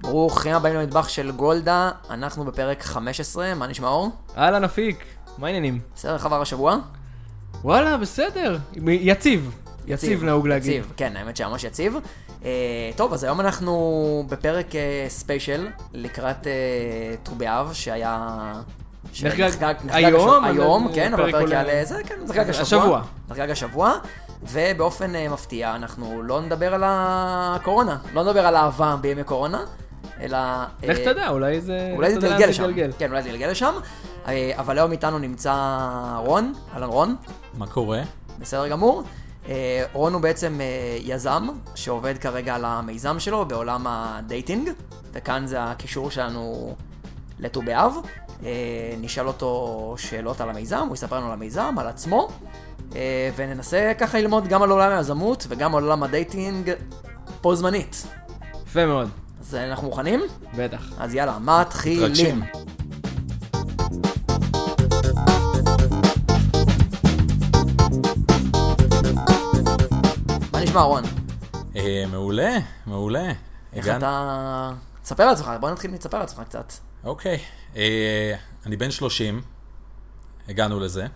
ברוכים הבאים למטבח של גולדה, אנחנו בפרק 15, מה נשמע אור? אהלן אפיק, מה העניינים? בסדר, איך עבר השבוע? וואלה, בסדר. מ- יציב. יציב נהוג להגיד. יציב, כן, האמת שממש יציב. אה, טוב, אז היום אנחנו בפרק אה, ספיישל לקראת אה, ט"ו באב, שהיה... נחגג היום, היום, היום, אבל כן, הוא אבל פרק הפרק עולה- יעלה, זה כן, נחגג אז השבוע. השבוע. נחגג השבוע, ובאופן אה, מפתיע אנחנו לא נדבר על הקורונה, לא נדבר על אהבה בימי קורונה, אלא... אה, לך תדע, אולי זה... אולי זה לך תדע לאן יתגלגל לשם. יתגלגל. כן, אולי זה יתגלגל לשם. אה, אבל היום איתנו נמצא רון, אהלן רון, מה קורה? בסדר גמור. אה, רון הוא בעצם אה, יזם שעובד כרגע על המיזם שלו בעולם הדייטינג, וכאן זה הקישור שלנו לט"ו באב. אה, נשאל אותו שאלות על המיזם, הוא יספר לנו על המיזם, על עצמו, אה, וננסה ככה ללמוד גם על עולם היזמות וגם על עולם הדייטינג בו זמנית. יפה מאוד, אז אה, אנחנו מוכנים? בטח. אז יאללה, מתחילים. מתרגשים. מה נשמע, רון? אה, מעולה, מעולה. איך כן? אתה... תספר על עצמך, בוא נתחיל מלספר על עצמך קצת. אוקיי. אה, אני בן 30, הגענו לזה.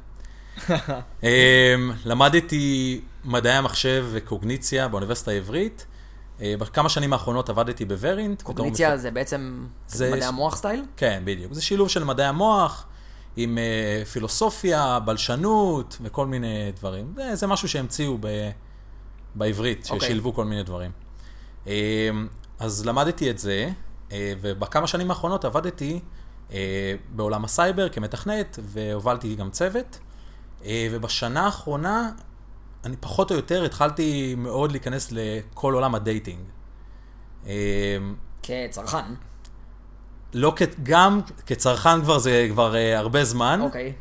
אה, למדתי מדעי המחשב וקוגניציה באוניברסיטה העברית. אה, בכמה שנים האחרונות עבדתי בוורינט. בתור קוגניציה מפק- זה בעצם זה- מדעי המוח סטייל? כן, בדיוק. זה שילוב של מדעי המוח עם אה, פילוסופיה, בלשנות וכל מיני דברים. זה, זה משהו שהמציאו ב, בעברית, אוקיי. ששילבו כל מיני דברים. אה, אז למדתי את זה, אה, ובכמה שנים האחרונות עבדתי אה, בעולם הסייבר כמתכנת, והובלתי גם צוות. אה, ובשנה האחרונה, אני פחות או יותר התחלתי מאוד להיכנס לכל עולם הדייטינג. אה, כצרכן. לא כ... גם כצרכן כבר זה כבר אה, הרבה זמן, אוקיי,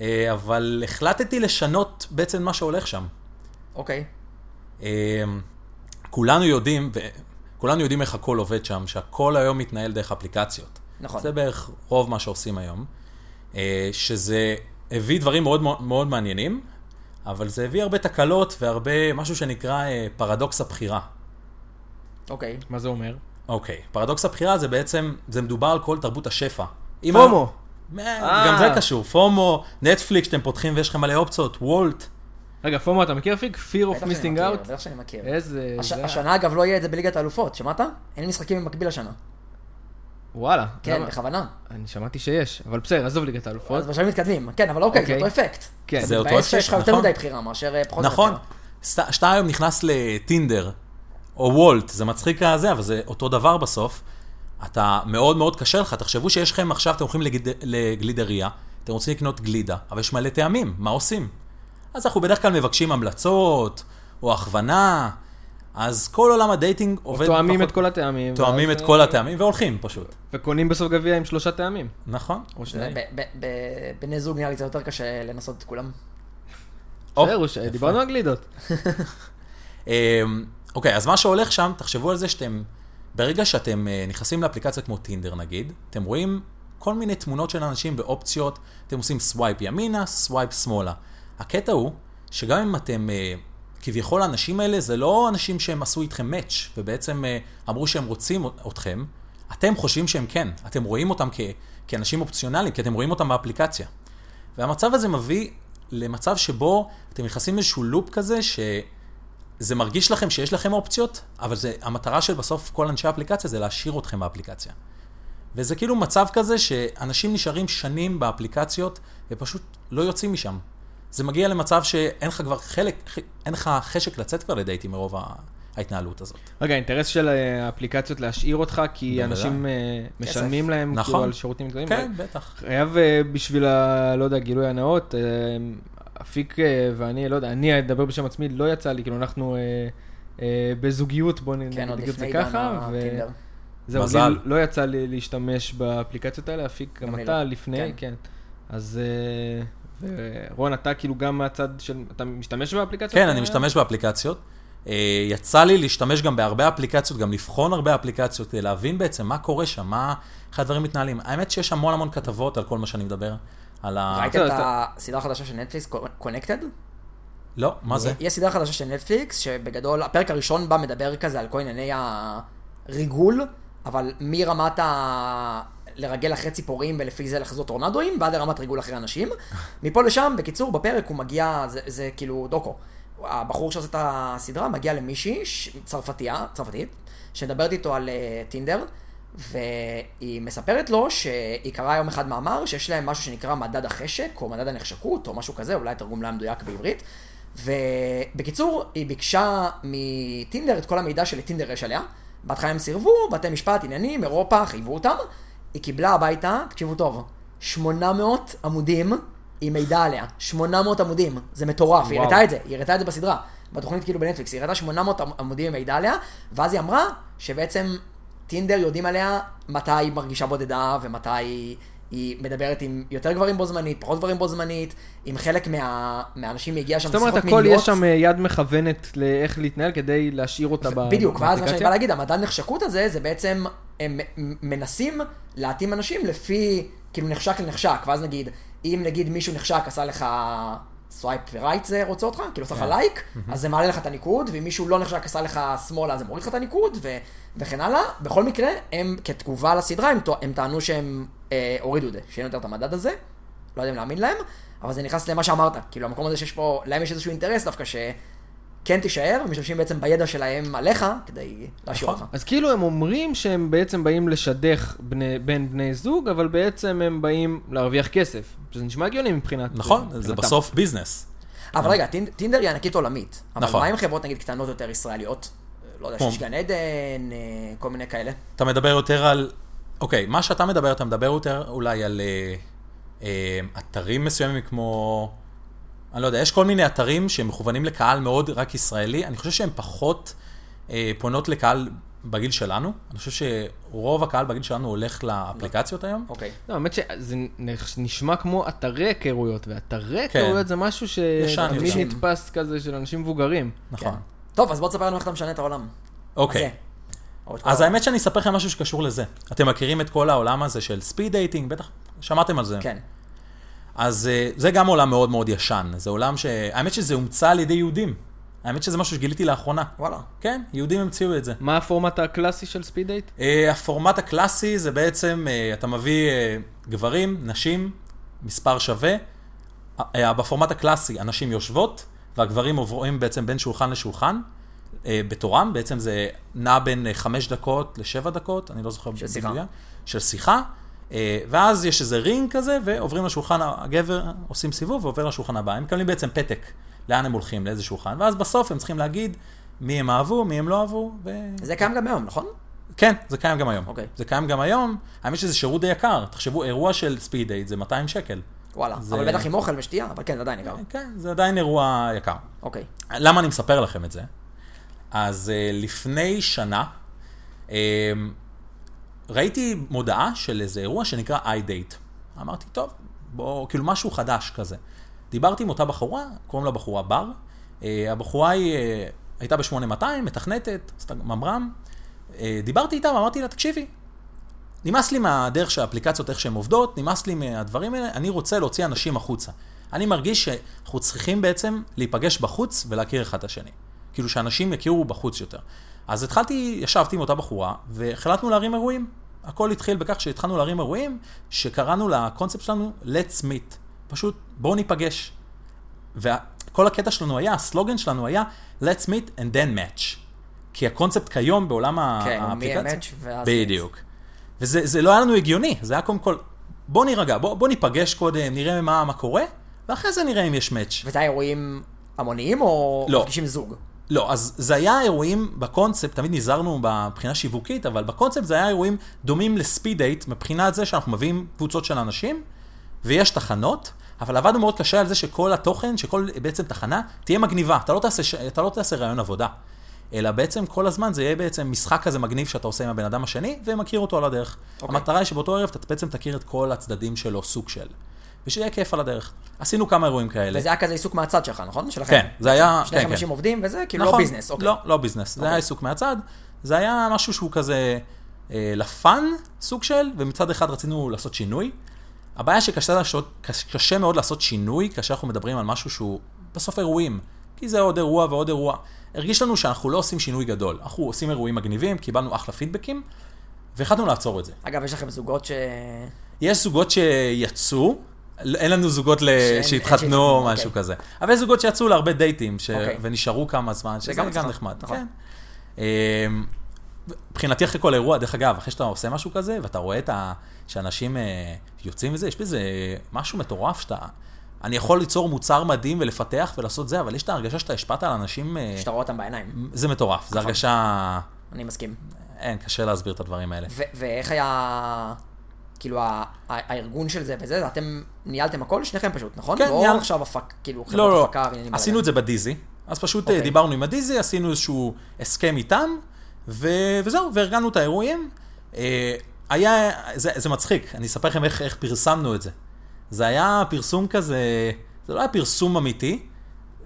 אה, אבל החלטתי לשנות בעצם מה שהולך שם. אוקיי. אה, כולנו יודעים, ו... כולנו יודעים איך הכל עובד שם, שהכל היום מתנהל דרך אפליקציות. נכון. זה בערך רוב מה שעושים היום. אה, שזה הביא דברים מאוד מאוד- מאוד מעניינים, אבל זה הביא הרבה תקלות והרבה, משהו שנקרא אה, פרדוקס הבחירה. אוקיי. מה זה אומר? אוקיי, פרדוקס הבחירה זה בעצם, זה מדובר על כל תרבות השפע. אם פומו. אה, גם אה. זה קשור, פומו, נטפליקס שאתם פותחים ויש לכם מלא אופציות, וולט. רגע, פומו, אתה מכיר אפיק? Fear of בטח שאני missing מכיר, out? בטח שאני מכיר. איזה... הש- זה- השנה אגב לא יהיה את זה בליגת האלופות, שמעת? אין משחקים במקביל השנה. וואלה. כן, למה? בכוונה. אני שמעתי שיש, אבל בסדר, עזוב ליגת האלופות. אז בשלבים מתקדמים. כן, אבל אוקיי, זה אוקיי. אותו אפקט. כן. אתה זה אותו מתבאס שיש לך אפקט, יותר נכון. מדי בחירה מאשר אה, פחות נכון, בחירה. סת- שאתה היום נכנס לטינדר, או וולט, זה מצחיק הזה, אבל זה אותו דבר בסוף. אתה מאוד מאוד קשה לך, תחשבו שיש לכם עכשיו, אתם הולכים לגד- לגלידריה, אתם רוצים לקנות גלידה, אבל יש מלא טעמים, מה עושים? אז אנחנו בדרך כלל מבקשים המלצות, או הכוונה, אז כל עולם הדייטינג עובד... תואמים פחות- את כל אה, הטעמים. תואמים ואז- את כל הטעמים והולכים פשוט, וקונים בסוף גביע עם שלושה טעמים. נכון? או זה שניים. ב- ב- ב- בני זוג נראה לי קצת יותר קשה לנסות את כולם. כן, או, בסדר, הוא ש- דיברנו על גלידות. אמ, אוקיי, אז מה שהולך שם, תחשבו על זה שאתם, ברגע שאתם אה, נכנסים לאפליקציה כמו טינדר נגיד, אתם רואים כל מיני תמונות של אנשים ואופציות, אתם עושים סווייפ ימינה, סווייפ שמאלה. הקטע הוא, שגם אם אתם, אה, כביכול האנשים האלה, זה לא אנשים שהם עשו איתכם מאץ', ובעצם אה, אמרו שהם רוצים אתכם, אתם חושבים שהם כן, אתם רואים אותם כ- כאנשים אופציונליים, כי אתם רואים אותם באפליקציה. והמצב הזה מביא למצב שבו אתם נכנסים לאיזשהו לופ כזה, שזה מרגיש לכם שיש לכם אופציות, אבל זה, המטרה של בסוף כל אנשי האפליקציה זה להשאיר אתכם באפליקציה. וזה כאילו מצב כזה שאנשים נשארים שנים באפליקציות ופשוט לא יוצאים משם. זה מגיע למצב שאין לך כבר חלק, ח- אין לך חשק לצאת כבר לדייטים מרוב ה- ההתנהלות הזאת. רגע, האינטרס של אה, האפליקציות להשאיר אותך, כי בוודאי. אנשים אה, משלמים להם נכון. כאילו על שירותים גדולים. כן, בטח. חייב אה, בשביל ה... לא יודע, גילוי הנאות, אה, אפיק אה, ואני, לא יודע, אני אדבר בשם עצמי, לא יצא לי, כאילו אנחנו אה, אה, בזוגיות, בוא נ- כן, עוד נגיד את זה לפני גם ככה, הטינדר. וזהו, מזל. לי לא יצא לי להשתמש באפליקציות האלה, אפיק גם גם לי אתה לא. כן. לפני, כן. אז אה, רון, אתה כאילו גם מהצד של, אתה משתמש באפליקציות? כן, האלה? אני משתמש באפליקציות. אה, יצא לי להשתמש גם בהרבה אפליקציות, גם לבחון הרבה אפליקציות, כדי להבין בעצם מה קורה שם, מה, איך הדברים מתנהלים. האמת שיש המון המון כתבות על כל מה שאני מדבר. על ה... ראית טוב, את אז לא, אתה- הסדרה החדשה של נטפליקס, קונקטד? לא, מה זה? יש סדרה חדשה של נטפליקס, שבגדול, הפרק הראשון בה מדבר כזה על כל ענייני הריגול אבל מרמת ה... לרגל אחרי ציפורים ולפי זה לחזות טורנדואים, ועד לרמת ריגול אחרי אנשים. מפה לשם, בקיצור, בפרק הוא מגיע, זה, זה כאילו דוקו. הבחור שעושה את הסדרה מגיע למישהי, ש- צרפתייה, צרפתית, שמדברת איתו על אה, טינדר, והיא מספרת לו שהיא קראה יום אחד מאמר שיש להם משהו שנקרא מדד החשק, או מדד הנחשקות, או משהו כזה, אולי התרגום לא היה מדויק בעברית. ובקיצור, היא ביקשה מטינדר את כל המידע שלטינדר יש עליה. בהתחלה הם סירבו, בתי משפט, עניינים, אירופה, חייבו אותם. היא קיבלה הביתה, תקשיבו טוב, 800 עמודים עם מידע עליה. 800 עמודים, זה מטורף, היא וואו. הראתה את זה, היא הראתה את זה בסדרה. בתוכנית כאילו בנטפליקס, היא הראתה 800 עמ- עמודים עם מידע עליה, ואז היא אמרה שבעצם טינדר יודעים עליה מתי היא מרגישה בודדה ומתי היא- היא מדברת עם יותר גברים בו זמנית, פחות גברים בו זמנית, עם חלק מה... מהאנשים היא הגיעה שם זאת אומרת, לשיחות הכל מיניות. יש שם אה, יד מכוונת לאיך להתנהל כדי להשאיר אותה ב- בדיוק, ואז מה שאני בא באפליקציה? להגיד, המדד נחשקות הזה, זה בעצם, הם מ- מנסים להתאים אנשים לפי, כאילו נחשק לנחשק, ואז נגיד, אם נגיד מישהו נחשק עשה לך סווייפ רייט זה רוצה אותך, כאילו עשה כן. לך לייק, אז זה מעלה לך את הניקוד, ואם מישהו לא נחשק עשה לך שמאלה, אז זה מוריד לך את הניקוד, ו- וכן הלאה. בכל מקרה, הם כתגובה לסדרה, הם טוע- הם טענו שהם אה, הורידו את זה, שאין יותר את המדד הזה, לא יודע אם להאמין להם, אבל זה נכנס למה שאמרת, כאילו המקום הזה שיש פה, להם יש איזשהו אינטרס דווקא ש... כן תישאר, משתמשים בעצם בידע שלהם עליך כדי להשאיר נכון. אותך. אז כאילו הם אומרים שהם בעצם באים לשדך בני, בין בני זוג, אבל בעצם הם באים להרוויח כסף. שזה נשמע הגיוני מבחינת... נכון, מבחינתם. זה בסוף ביזנס. אבל רגע, טינ- טינדר היא ענקית עולמית. אבל נכון. מה עם חברות נגיד קטנות יותר ישראליות? לא יודע, כמו- שיש גן עדן, אה, כל מיני כאלה. אתה מדבר יותר על... אוקיי, מה שאתה מדבר, אתה מדבר יותר אולי על אה, אה, אתרים מסוימים כמו... אני לא יודע, יש כל מיני אתרים שהם מכוונים לקהל מאוד רק ישראלי. אני חושב שהם פחות אה, פונות לקהל בגיל שלנו. אני חושב שרוב הקהל בגיל שלנו הולך לאפליקציות היום. אוקיי. לא, האמת שזה נ- נשמע כמו אתרי היכרויות, ואתרי כן. היכרויות זה משהו שתמיד יותר. נתפס כזה של אנשים מבוגרים. נכון. כן. טוב, אז בוא תספר לנו איך אתה משנה את העולם. אוקיי. זה. או את כל אז העולם. האמת שאני אספר לכם משהו שקשור לזה. אתם מכירים את כל העולם הזה של ספיד דייטינג, בטח שמעתם על זה. כן. אז אה, זה גם עולם מאוד מאוד ישן. זה עולם ש... האמת שזה הומצא על ידי יהודים. האמת שזה משהו שגיליתי לאחרונה. וואלה. כן, יהודים המציאו את זה. מה הפורמט הקלאסי של ספיד דייט? אה, הפורמט הקלאסי זה בעצם, אה, אתה מביא אה, גברים, נשים, מספר שווה. אה, אה, בפורמט הקלאסי הנשים יושבות, והגברים עוברים בעצם בין שולחן לשולחן, אה, בתורם, בעצם זה נע בין אה, חמש דקות לשבע דקות, אני לא זוכר של שיחה. במדויק, של שיחה. אה, ואז יש איזה רינג כזה, ועוברים לשולחן, הגבר עושים סיבוב ועובר לשולחן הבא. הם מקבלים בעצם פתק לאן הם הולכים, לאיזה שולחן, ואז בסוף הם צריכים להגיד מי הם אהבו, מי הם לא אהבו, ו... זה קיים גם היום, נכון? כן, זה קיים גם היום. אוקיי. זה קיים גם היום, האמת שזה שירות די יקר. תחשבו, אירוע של ספיד דייט זה 200 שקל. וואלה. זה- אבל בטח עם אוכל ושתייה, אבל כן, זה עדיין יקר. כן, זה עדיין אירוע יקר. אוקיי. למה אני מספר לכם את זה? אז אה, לפני שנה, אה, ראיתי מודעה של איזה אירוע שנקרא iDate. אמרתי, טוב, בוא, כאילו משהו חדש כזה. דיברתי עם אותה בחורה, קוראים לה בחורה בר. אה, הבחורה היא אה, הייתה ב-8200, מתכנתת, עשתה ממר"ם. אה, דיברתי איתה ואמרתי לה, תקשיבי, נמאס לי מהדרך שהאפליקציות, איך שהן עובדות, נמאס לי מהדברים האלה, אני רוצה להוציא אנשים החוצה. אני מרגיש שאנחנו צריכים בעצם להיפגש בחוץ ולהכיר אחד את השני. כאילו שאנשים יכירו בחוץ יותר. אז התחלתי, ישבתי עם אותה בחורה, והחלטנו להרים אירועים. הכל התחיל בכך שהתחלנו להרים אירועים, שקראנו לקונספט שלנו Let's Meet. פשוט, בואו ניפגש. וכל הקטע שלנו היה, הסלוגן שלנו היה Let's Meet and then match. כי הקונספט כיום בעולם ה- כן, מי האפליקציה... match ואז בדיוק. וזה זה לא היה לנו הגיוני, זה היה קודם כל, בוא נירגע, בוא, בוא ניפגש קודם, נראה מה, מה קורה, ואחרי זה נראה אם יש מאץ'. וזה היה אירועים המוניים או לא. מפגישים זוג? לא, אז זה היה אירועים בקונספט, תמיד נזהרנו מבחינה שיווקית, אבל בקונספט זה היה אירועים דומים לספיד דייט, מבחינת זה שאנחנו מביאים קבוצות של אנשים, ויש תחנות, אבל עבדנו מאוד קשה על זה שכל התוכן, שכל בעצם תחנה, תהיה מגניבה. אתה לא תעשה, ש- אתה לא תעשה רעיון עבודה. אלא בעצם כל הזמן זה יהיה בעצם משחק כזה מגניב שאתה עושה עם הבן אדם השני, ומכיר אותו על הדרך. Okay. המטרה היא שבאותו ערב אתה בעצם תכיר את כל הצדדים שלו, סוג של. ושיהיה כיף על הדרך. עשינו כמה אירועים כאלה. וזה היה כזה עיסוק מהצד שלך, נכון? שלכם. כן, זה היה... שני כן, כן. אנשים עובדים וזה, כאילו לא נכון, ביזנס, אוקיי. לא, לא ביזנס, זה היה עיסוק מהצד, זה היה משהו שהוא כזה אה, לפאן סוג של, ומצד אחד רצינו לעשות שינוי. הבעיה שקשה לעשות, קש- קשה מאוד לעשות שינוי כאשר אנחנו מדברים על משהו שהוא בסוף אירועים, כי זה עוד אירוע ועוד אירוע. הרגיש לנו שאנחנו לא עושים שינוי גדול, אנחנו עושים אירועים מגניבים, קיבלנו אחלה פידבקים, והחלטנו לעצור את זה. אגב, יש לכם זוגות ש... אה. יש זוגות שיצאו, אין לנו זוגות ל... שאין- שהתחתנו או אוקיי. משהו כזה. אבל יש זוגות שיצאו להרבה דייטים, ש... אוקיי. ונשארו כמה זמן, שזה גם גם, נכון, נחמד. נכון. כן. אמ, מבחינתי אחרי כל אירוע, דרך אגב, אחרי שאתה עושה משהו כזה, ואתה רואה את ה... שאנשים אה, יוצאים מזה, יש בזה משהו מטורף שאתה... אני יכול ליצור מוצר מדהים ולפתח ולעשות זה, אבל יש את ההרגשה שאתה השפעת על אנשים... אה, שאתה נכון. רואה אותם בעיניים. זה מטורף, זו הרגשה... אני מסכים. אין, קשה להסביר את הדברים האלה. ו- ואיך היה... כאילו, ה- ה- הארגון של זה וזה, אתם ניהלתם הכל, שניכם פשוט, נכון? כן, לא ניהל- עכשיו הפק... כאילו, חברת לא, לא, הפקה, עניינים עשינו האלה. את זה בדיזי, אז פשוט אוקיי. okay. דיברנו עם הדיזי, עשינו איזשהו הסכם איתם, ו... וזהו, וארגנו את האירועים. אה, היה, זה, זה מצחיק, אני אספר לכם איך, איך פרסמנו את זה. זה היה פרסום כזה, זה לא היה פרסום אמיתי,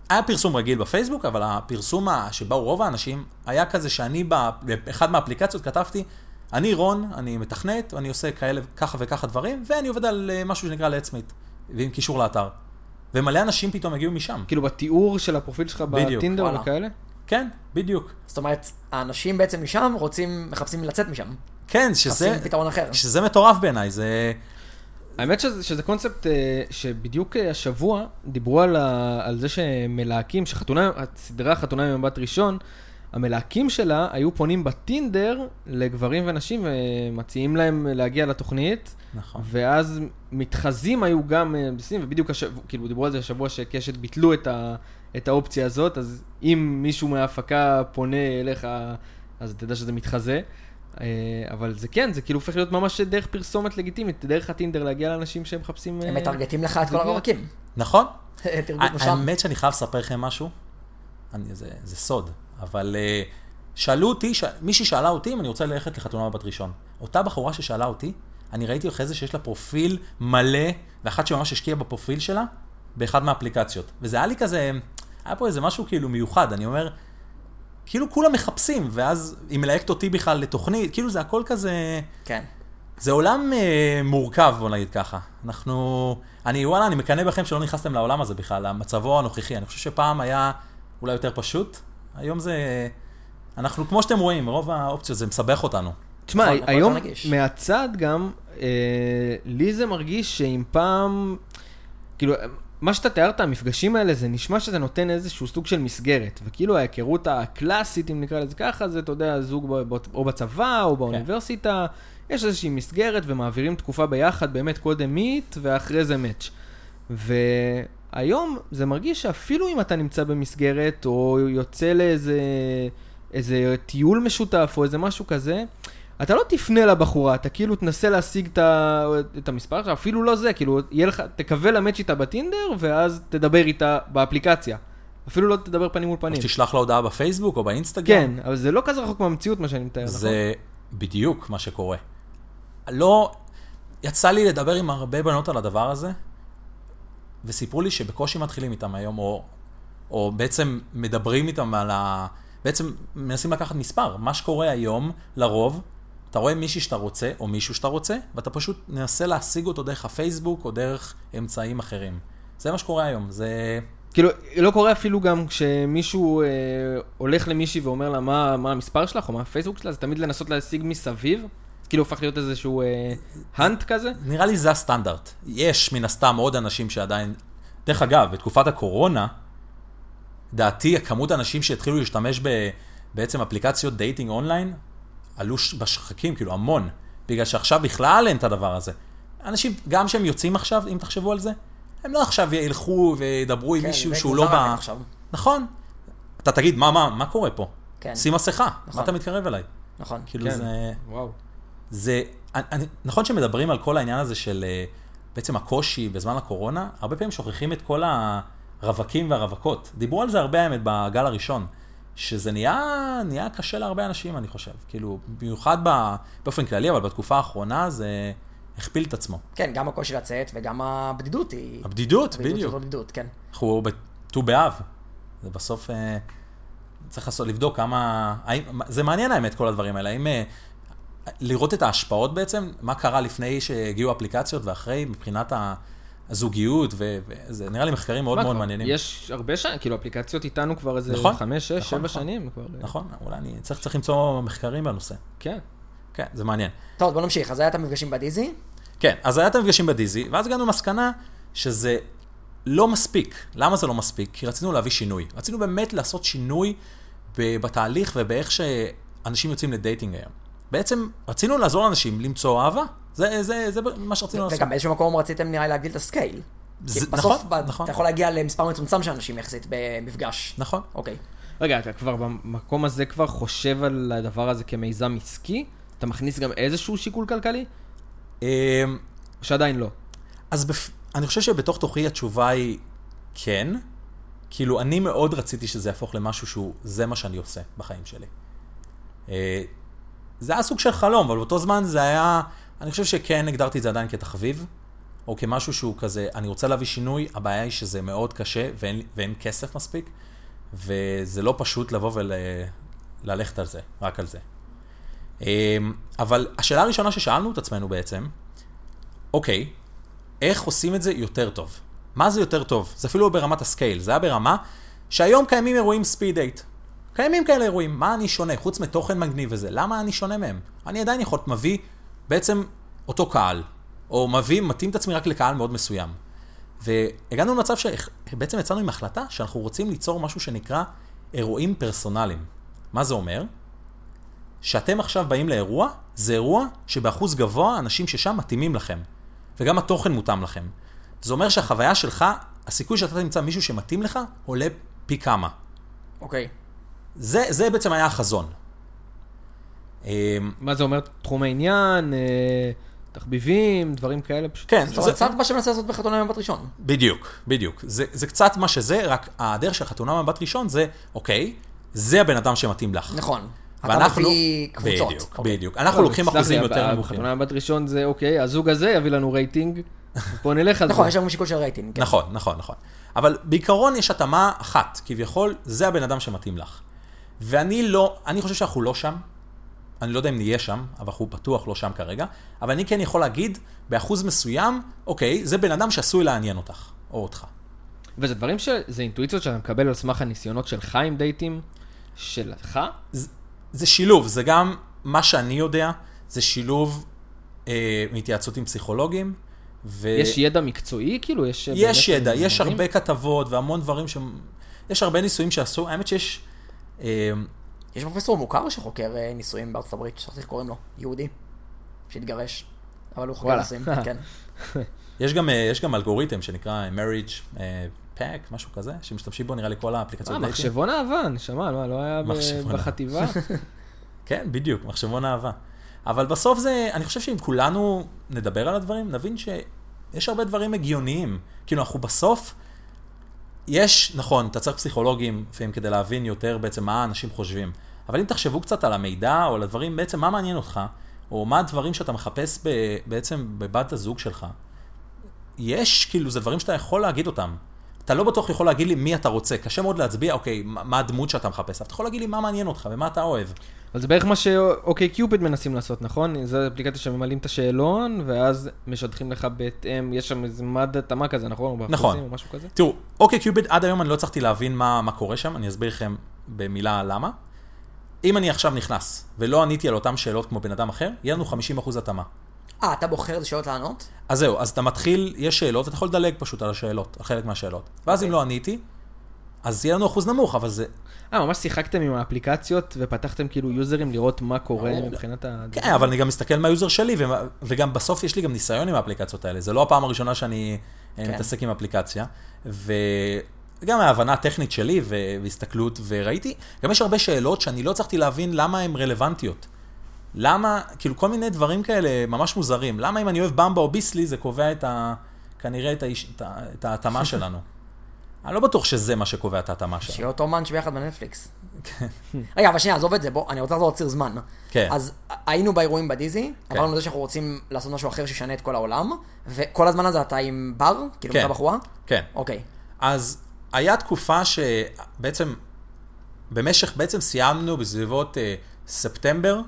היה פרסום רגיל בפייסבוק, אבל הפרסום ה- שבאו רוב האנשים, היה כזה שאני בא- באחד מהאפליקציות כתבתי, אני רון, אני מתכנת, אני עושה כאלה, ככה וככה דברים, ואני עובד על אה, משהו שנקרא לעצמית, ועם קישור לאתר. ומלא אנשים פתאום הגיעו משם. כאילו בתיאור של הפרופיל שלך בדיוק, בטינדר וואלה. וכאלה? כן, בדיוק. זאת אומרת, האנשים בעצם משם רוצים, מחפשים לצאת משם. כן, שזה, מחפשים פתרון אחר. שזה מטורף בעיניי, זה... האמת שזה, שזה קונספט אה, שבדיוק אה, השבוע דיברו על, ה, על זה שמלהקים, שחתונה, הסדרה חתונה ממבט ראשון, המלהקים שלה היו פונים בטינדר לגברים ונשים ומציעים להם להגיע לתוכנית. נכון. ואז מתחזים היו גם אה, בסין, ובדיוק השבוע, כאילו דיברו על זה השבוע שקשת ביטלו את, ה, את האופציה הזאת, אז אם מישהו מההפקה פונה אליך, אז תדע שזה מתחזה. אה, אבל זה כן, זה כאילו הופך להיות ממש דרך פרסומת לגיטימית, דרך הטינדר להגיע לאנשים שהם מחפשים... אה, הם מטרגטים לך את כל זה- הרווקים. נכון? תרגום משם. האמת שאני חייב לספר לכם משהו, אני, זה, זה סוד, אבל אה, שאלו אותי, ש... מישהי שאלה אותי אם אני רוצה ללכת לחתונה בבת ראשון. אותה בחורה ששאלה אותי, אני ראיתי אחרי זה שיש לה פרופיל מלא, ואחת שממש השקיעה בפרופיל שלה, באחד מהאפליקציות. וזה היה לי כזה, היה פה איזה משהו כאילו מיוחד, אני אומר, כאילו כולם מחפשים, ואז היא מלהקת אותי בכלל לתוכנית, כאילו זה הכל כזה... כן. זה עולם אה, מורכב, בוא נגיד ככה. אנחנו... אני, וואלה, אני מקנא בכם שלא נכנסתם לעולם הזה בכלל, למצבו הנוכחי. אני חושב שפעם היה אולי יותר פשוט, היום זה... אנחנו, כמו שאתם רואים, רוב האופציות זה מסבך אותנו. תשמע, נכון, הכל היום יותר נגיש. מהצד גם, אה, לי זה מרגיש שאם פעם, כאילו, מה שאתה תיארת, המפגשים האלה, זה נשמע שזה נותן איזשהו סוג של מסגרת. וכאילו ההיכרות הקלאסית, אם נקרא לזה ככה, זה, אתה יודע, זוג ב- ב- או בצבא כן. או באוניברסיטה, יש איזושהי מסגרת ומעבירים תקופה ביחד, באמת קודם מיט ואחרי זה מאץ'. והיום זה מרגיש שאפילו אם אתה נמצא במסגרת, או יוצא לאיזה איזה טיול משותף, או איזה משהו כזה, אתה לא תפנה לבחורה, אתה כאילו תנסה להשיג את, ה... את המספר שלה, אפילו לא זה, כאילו, יהיה לך, תקווה למאץ' איתה בטינדר, ואז תדבר איתה באפליקציה. אפילו לא תדבר פנים מול או פנים. שתשלח לה הודעה בפייסבוק או באינסטגרם. כן, אבל זה לא כזה רחוק מהמציאות, מה שאני מתאר, נכון? זה בדיוק מה שקורה. לא, יצא לי לדבר עם הרבה בנות על הדבר הזה, וסיפרו לי שבקושי מתחילים איתם היום, או, או בעצם מדברים איתם על ה... בעצם מנסים לקחת מספר. מה שקורה היום, לרוב, אתה רואה מישהי שאתה רוצה, או מישהו שאתה רוצה, ואתה פשוט מנסה להשיג אותו דרך הפייסבוק, או דרך אמצעים אחרים. זה מה שקורה היום, זה... כאילו, לא קורה אפילו גם כשמישהו אה, הולך למישהי ואומר לה מה, מה המספר שלך, או מה הפייסבוק שלה, זה תמיד לנסות להשיג מסביב. כאילו הופך להיות איזשהו אה, האנט כזה. נראה לי זה הסטנדרט. יש מן הסתם עוד אנשים שעדיין... דרך אגב, בתקופת הקורונה, דעתי, הכמות האנשים שהתחילו להשתמש ב... בעצם אפליקציות דייטינג אונליין, עלו ש- בשחקים, כאילו המון. בגלל שעכשיו בכלל אין את הדבר הזה. אנשים, גם שהם יוצאים עכשיו, אם תחשבו על זה, הם לא עכשיו ילכו וידברו עם כן, מישהו זה שהוא כבר לא רק ב... עכשיו. נכון. אתה תגיד, מה, מה, מה קורה פה? כן. שים מסכה, נכון. מה אתה מתקרב אליי? נכון. כאילו כן. זה... וואו. זה, אני, אני- נכון שמדברים על כל העניין הזה של אה, בעצם הקושי בזמן הקורונה, הרבה פעמים שוכחים את כל הרווקים והרווקות. דיברו על זה הרבה האמת בגל הראשון, שזה נהיה, נהיה קשה להרבה אנשים, אני חושב. כאילו, במיוחד ב, באופן כללי, אבל בתקופה האחרונה זה הכפיל את עצמו. כן, גם הקושי לצאת וגם הבדידות היא... הבדידות, הבדידות בדיוק. זאת הבדידות, כן. אנחנו בט"ו באב. זה בסוף, אה, צריך לעשות, לבדוק כמה... האם, זה מעניין האמת, כל הדברים האלה. האם... אה, לראות את ההשפעות בעצם, מה קרה לפני שהגיעו האפליקציות ואחרי, מבחינת הזוגיות, וזה נראה לי מחקרים מאוד מה מאוד כבר? מעניינים. יש הרבה שנים, כאילו אפליקציות איתנו כבר איזה נכון. חמש, שש, נכון, שבע נכון. שנים כבר. נכון, אולי אני צריך, צריך למצוא מחקרים בנושא. כן. כן, זה מעניין. טוב, בוא נמשיך. אז היה את המפגשים בדיזי? כן, אז היה את המפגשים בדיזי, ואז הגענו למסקנה שזה לא מספיק. למה זה לא מספיק? כי רצינו להביא שינוי. רצינו באמת לעשות שינוי ב- בתהליך ובאיך שאנשים יוצאים לדייטינג היום. בעצם רצינו לעזור לאנשים למצוא אהבה. זה, זה, זה מה שרצינו לעשות. וגם באיזשהו מקום רציתם נראה לי להגדיל את הסקייל. כי זה- בסוף נכון, ב- נכון. אתה יכול להגיע למספר מצומצם של אנשים יחסית במפגש. נכון. אוקיי. רגע, אתה כבר במקום הזה כבר חושב על הדבר הזה כמיזם עסקי? אתה מכניס גם איזשהו שיקול כלכלי? אמ, או שעדיין לא? אז בפ... אני חושב שבתוך תוכי התשובה היא כן. כאילו, אני מאוד רציתי שזה יהפוך למשהו שהוא, זה מה שאני עושה בחיים שלי. אה, זה היה סוג של חלום, אבל באותו זמן זה היה, אני חושב שכן הגדרתי את זה עדיין כתחביב, או כמשהו שהוא כזה, אני רוצה להביא שינוי, הבעיה היא שזה מאוד קשה ואין, ואין כסף מספיק, וזה לא פשוט לבוא וללכת על זה, רק על זה. אה, אבל השאלה הראשונה ששאלנו את עצמנו בעצם, אוקיי, איך עושים את זה יותר טוב. מה זה יותר טוב? זה אפילו לא ברמת הסקייל, זה היה ברמה שהיום קיימים אירועים ספיד דייט. קיימים כאלה אירועים, מה אני שונה? חוץ מתוכן מגניב וזה, למה אני שונה מהם? אני עדיין יכול להיות מביא בעצם אותו קהל, או מביא, מתאים את עצמי רק לקהל מאוד מסוים. והגענו למצב שבעצם יצאנו עם החלטה שאנחנו רוצים ליצור משהו שנקרא אירועים פרסונליים. מה זה אומר? שאתם עכשיו באים לאירוע, זה אירוע שבאחוז גבוה האנשים ששם מתאימים לכם. וגם התוכן מותאם לכם. זה אומר שהחוויה שלך, הסיכוי שאתה תמצא מישהו שמתאים לך, עולה פי כמה. אוקיי. זה, זה בעצם היה החזון. אמ, מה זה אומר תחום העניין, אה, תחביבים, דברים כאלה פשוט? כן, זאת אומרת, קצת מה שמנסה לעשות בחתונה במבט ראשון. בדיוק, בדיוק. זה, זה קצת מה שזה, רק הדרך של חתונה מבט ראשון זה, אוקיי, זה הבן אדם שמתאים לך. נכון. אתה ואנחנו- מפי קבוצות. בדיוק, אוקיי. בדיוק. אנחנו לוקחים סלח לי, אחוזים הב- יותר נמוכים. בחתונה בבת ראשון זה, אוקיי, הזוג הזה יביא לנו רייטינג, בוא נלך על זה. נכון, יש לנו שיקול של רייטינג. כן. נכון, נכון, נכון. אבל בעיקרון יש התאמה אחת, כביכול, זה הבן אדם שמתאים לך. ואני לא, אני חושב שאנחנו לא שם. אני לא יודע אם נהיה שם, אבל אנחנו בטוח לא שם כרגע. אבל אני כן יכול להגיד, באחוז מסוים, אוקיי, זה בן אדם שעשוי לעניין אותך, או אותך. וזה דברים ש... זה אינטואיציות שאתה מקבל על סמך הניסיונות שלך עם דייטים, שלך? זה- זה שילוב, זה גם מה שאני יודע, זה שילוב אה, מהתייעצות עם פסיכולוגים. ו... יש ידע מקצועי, כאילו? יש... יש באמת ידע, יש דברים? הרבה כתבות והמון דברים ש... יש הרבה ניסויים שעשו, האמת שיש... אה, יש פרופסור מוכר שחוקר אה, נישואים בארצות הברית, שכחתי איך קוראים לו, יהודי, שהתגרש, אבל הוא חוקר וואלה. נישואים, כן. יש גם, אה, יש גם אלגוריתם שנקרא marriage אה, pack, משהו כזה, שמשתמשים בו נראה לי כל אה, האפליקציות. דייטינג. מחשבון אהבה, נשמה, לא לא היה ב- מחשבון אהבה. בחטיבה. כן, בדיוק, מחשבון אהבה. אבל בסוף זה, אני חושב שאם כולנו נדבר על הדברים, נבין שיש הרבה דברים הגיוניים. כאילו, אנחנו בסוף, יש, נכון, אתה צריך פסיכולוגים לפעמים כדי להבין יותר בעצם מה האנשים חושבים. אבל אם תחשבו קצת על המידע או על הדברים, בעצם מה מעניין אותך, או מה הדברים שאתה מחפש ב, בעצם בבת הזוג שלך, יש, כאילו, זה דברים שאתה יכול להגיד אותם. אתה לא בטוח יכול להגיד לי מי אתה רוצה, קשה מאוד להצביע, אוקיי, מה מה הדמות שאתה מחפש, אבל אתה יכול להגיד לי מה מעניין אותך ומה אתה אוהב. אבל זה בערך מה שאוקיי קיופיד מנסים לעשות, נכון? זו אפליקציה שממלאים את השאלון, ואז משדכים לך בהתאם, יש שם איזה מד התאמה כזה, נכון? או באחוזים נכון. או משהו כזה? תראו, אוקיי קיוביד, עד היום אני לא הצלחתי להבין מה, מה קורה שם, אני אסביר לכם במילה למה. אם אני עכשיו נכנס ולא עניתי על אותן שאלות כמו בן אדם אחר, יהיה לנו 50% התאמה. אה, אתה בוחר איזה שאלות לענות? אז זהו, אז אתה מתחיל, יש שאלות, ואתה יכול לדלג פשוט על השאלות, על חלק מהשאלות. ואז אם לא עניתי, אז יהיה לנו אחוז נמוך, אבל זה... אה, ממש שיחקתם עם האפליקציות ופתחתם כאילו יוזרים לראות מה קורה מבחינת ה... כן, אבל אני גם מסתכל מהיוזר שלי, ומה- וגם בסוף יש לי גם ניסיון עם האפליקציות האלה. זה לא הפעם הראשונה שאני אה, כן. מתעסק עם אפליקציה. וגם ההבנה הטכנית שלי ו- והסתכלות, וראיתי, גם יש הרבה שאלות שאני לא הצלחתי להבין למה הן רלוונטיות. למה, כאילו כל מיני דברים כאלה ממש מוזרים. למה אם אני אוהב במבה או ביסלי, זה קובע את ה... כנראה את האיש- את ה- את ההתאמה שלנו. אני לא בטוח שזה מה שקובע את ההתאמה שלנו. שיהיה אותו מאנץ' ביחד בנטפליקס. רגע, אבל שנייה, עזוב את זה, בוא, אני רוצה לעזור ציר זמן. כן. אז היינו באירועים בדיזי, עברנו לזה שאנחנו רוצים לעשות משהו אחר שישנה את כל העולם, וכל הזמן הזה אתה עם בר? כאילו, כן. אתה בחורה? כן. אוקיי. אז היה תקופה שבעצם, במשך, בעצם סיימנו בסביבות אה, ספטמבר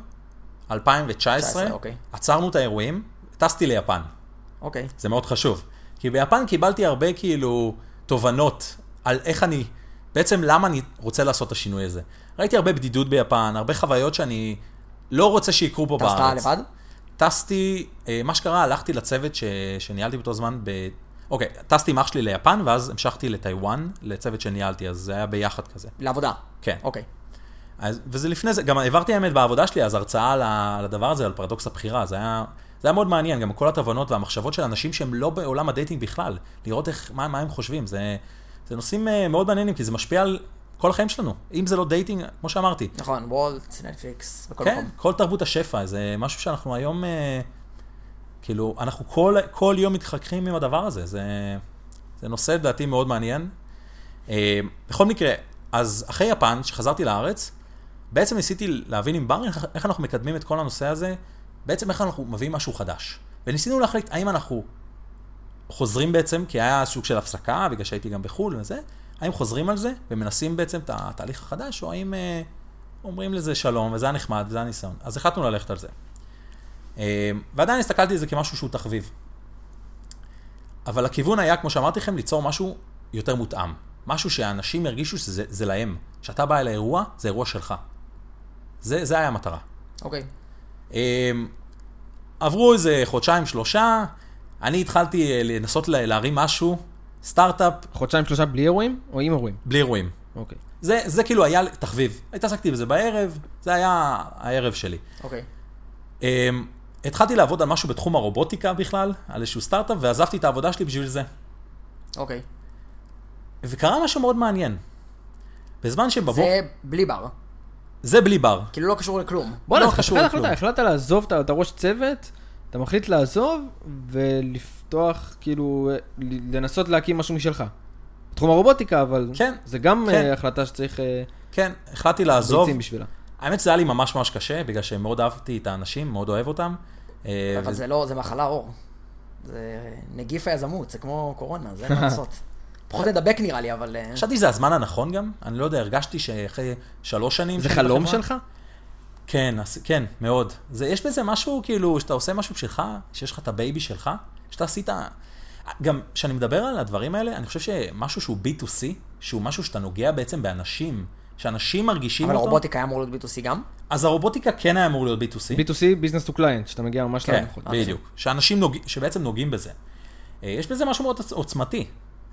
2019, 19, אוקיי. עצרנו את האירועים, טסתי ליפן, אוקיי. זה מאוד חשוב. כי ביפן קיבלתי הרבה כאילו תובנות על איך אני, בעצם למה אני רוצה לעשות את השינוי הזה. ראיתי הרבה בדידות ביפן, הרבה חוויות שאני לא רוצה שיקרו פה טסת בארץ. לבד? טסתי, אה, מה שקרה, הלכתי לצוות ש... שניהלתי באותו זמן ב... אוקיי, טסתי עם אח שלי ליפן, ואז המשכתי לטיוואן, לצוות שניהלתי, אז זה היה ביחד כזה. לעבודה. כן. אוקיי. אז, וזה לפני זה, גם העברתי האמת בעבודה שלי, אז הרצאה על, ה, על הדבר הזה, על פרדוקס הבחירה, זה היה, זה היה מאוד מעניין, גם כל התובנות והמחשבות של אנשים שהם לא בעולם הדייטינג בכלל, לראות איך, מה, מה הם חושבים, זה, זה נושאים אה, מאוד מעניינים, כי זה משפיע על כל החיים שלנו, אם זה לא דייטינג, כמו שאמרתי. נכון, וולט, נטפליקס, בכל כן, מקום. כל תרבות השפע, זה משהו שאנחנו היום, אה, כאילו, אנחנו כל, כל יום מתחככים עם הדבר הזה, זה, זה נושא לדעתי מאוד מעניין. אה, בכל מקרה, אז אחרי יפן, שחזרתי לארץ, בעצם ניסיתי להבין עם בר איך- איך אנחנו מקדמים את כל הנושא הזה, בעצם איך אנחנו מביאים משהו חדש. וניסינו להחליט האם אנחנו חוזרים בעצם, כי היה סוג של הפסקה, בגלל שהייתי גם בחו"ל וזה, האם חוזרים על זה ומנסים בעצם את התהליך החדש, או האם אה, אומרים לזה שלום, וזה היה נחמד, וזה היה ניסיון. אז החלטנו ללכת על זה. אה, ועדיין הסתכלתי על זה כמשהו שהוא תחביב. אבל הכיוון היה, כמו שאמרתי לכם, ליצור משהו יותר מותאם. משהו שאנשים ירגישו שזה זה להם. כשאתה בא אל האירוע, זה אירוע שלך. זה, זה היה המטרה. אוקיי. אמ, עברו איזה חודשיים, שלושה, אני התחלתי אה, לנסות לה- להרים משהו, סטארט-אפ, חודשיים שלושה בלי אירועים או עם אירועים? בלי אירועים. אוקיי. זה, זה כאילו היה תחביב. התעסקתי בזה בערב, זה היה הערב שלי. אוקיי. Um, התחלתי לעבוד על משהו בתחום הרובוטיקה בכלל, על איזשהו סטארט-אפ, ועזבתי את העבודה שלי בשביל זה. אוקיי. וקרה משהו מאוד מעניין. בזמן שבבוקר... זה... זה בלי בר. זה בלי בר. כאילו לא קשור לכלום. בוא'נה, לא אז קשור חתיכת לכלום. החלטה, החלטת לעזוב, אתה אתה ראש צוות, אתה מחליט לעזוב ולפתוח, כאילו, אה, ל- לנסות להקים משהו משלך. בתחום הרובוטיקה, אבל כן, זה גם כן. אה, החלטה שצריך אה, כן, החלטתי לעזוב. ביצים בשבילה. האמת שזה היה לי ממש ממש קשה, בגלל שמאוד אהבתי את האנשים, מאוד אוהב אותם. אה, אבל וזה- זה לא, זה מחלה אור. זה נגיף היזמות, זה כמו קורונה, זה אין מה לעשות. פחות נדבק נראה לי, אבל... אה, חשבתי שזה הזמן הנכון גם, אני לא יודע, הרגשתי שאחרי שלוש שנים... זה שאני חלום בחברה- שלך? כן, אז- כן, מאוד. זה, יש בזה משהו, כאילו, שאתה עושה משהו שלך, שיש לך את הבייבי שלך, שאתה עשית... גם כשאני מדבר על הדברים האלה, אני חושב שמשהו שהוא B2C, שהוא משהו שאתה נוגע בעצם באנשים, שאנשים מרגישים אבל אותו, הרובוטיקה היה אמור להיות B2C גם? אז הרובוטיקה כן היה אמור להיות B2C. B2C, Business to Client, שאתה מגיע ממש כן, נכון, ללקוחות. בדיוק. שאנשים נוג... שבעצם נוגעים בזה. אה, יש בזה משהו מאוד עוצ- עוצמתי.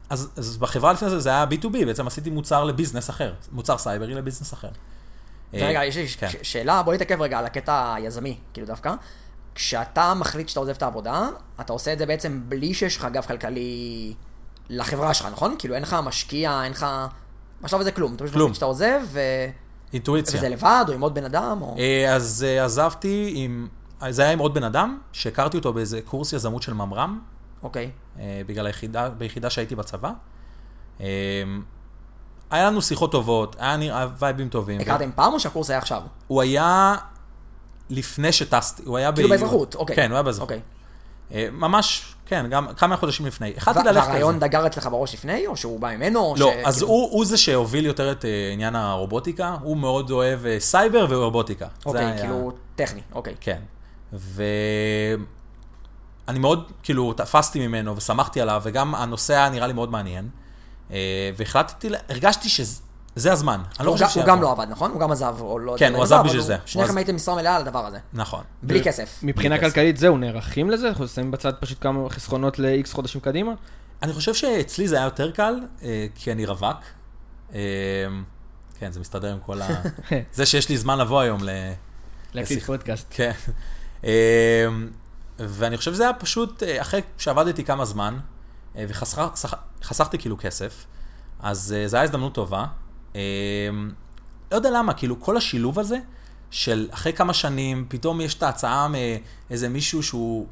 אז, אז בחברה לפני זה, זה היה B2B, בעצם עשיתי מוצר לביזנס אחר, מוצר סייברי לביזנס אחר. אה, רגע, יש לי ש- כן. ש- שאלה, בוא נתעכב רגע על הקטע היזמי, כאילו דווקא. כשאתה מחליט שאתה עוזב את העבודה, אתה עושה את זה בעצם בלי שיש לך גב כלכלי לחברה שלך, נכון? כאילו אין לך משקיע, אין לך... בשלב הזה כלום. אתה פשוט כלום. מחליט שאתה עוזב, ו... אינטואיציה. וזה לבד, או עם עוד בן אדם, או... אה, אז אה, עזבתי עם, זה היה עם עוד בן אדם, שהכרתי אותו באיזה קורס יזמות של ממר"ם, אוקיי. אה, בגלל היחידה, ביחידה שהייתי בצבא. אה, היה לנו שיחות טובות, היה נראה וייבים טובים. הכרתם פעם או שהקורס היה עכשיו? הוא היה לפני שטסתי, הוא היה כאילו ביולי. באזרחות, אוקיי. כן, הוא היה באזרחות. אוקיי. אה, ממש, כן, גם כמה חודשים לפני. החלטתי ו- ללכת על זה. והרעיון דגר אצלך בראש לפני, או שהוא בא ממנו? או לא, ש- אז כאילו- הוא, הוא זה שהוביל יותר את אה, עניין הרובוטיקה, הוא מאוד אוהב אה, סייבר ורובוטיקה. זה אוקיי, היה- כאילו, טכני, אוקיי. כן. ואני מאוד, כאילו, תפסתי ממנו ושמחתי עליו, וגם הנושא היה נראה לי מאוד מעניין. אה, והחלטתי, ל- הרגשתי שזה הזמן. אני לא הוא חושב גם- שיהיה הוא גם הזמן. לא עבד, נכון? הוא גם עזב, או לא... כן, לא הוא עזב, עזב אבל בשביל הוא- זה. שניכם הוא הייתם משרה מלאה על הדבר הזה. נכון. בלי כסף. מבחינה כסף. כלכלית זהו, נערכים לזה? אנחנו שמים בצד פשוט כמה חסכונות ל-X חודשים קדימה? אני חושב שאצלי זה היה יותר קל, אה, כי אני רווק. אה, כן, זה מסתדר עם כל ה... זה שיש לי זמן לבוא היום ל... להקליט לשיח- פודקאסט. כן. אמ, ואני חושב שזה היה פשוט, אה, אחרי שעבדתי כמה זמן, אה, וחסכתי כאילו כסף, אז אה, זו הייתה הזדמנות טובה. אמ, לא יודע למה, כאילו כל השילוב הזה, של אחרי כמה שנים, פתאום יש את ההצעה מאיזה מישהו שהוא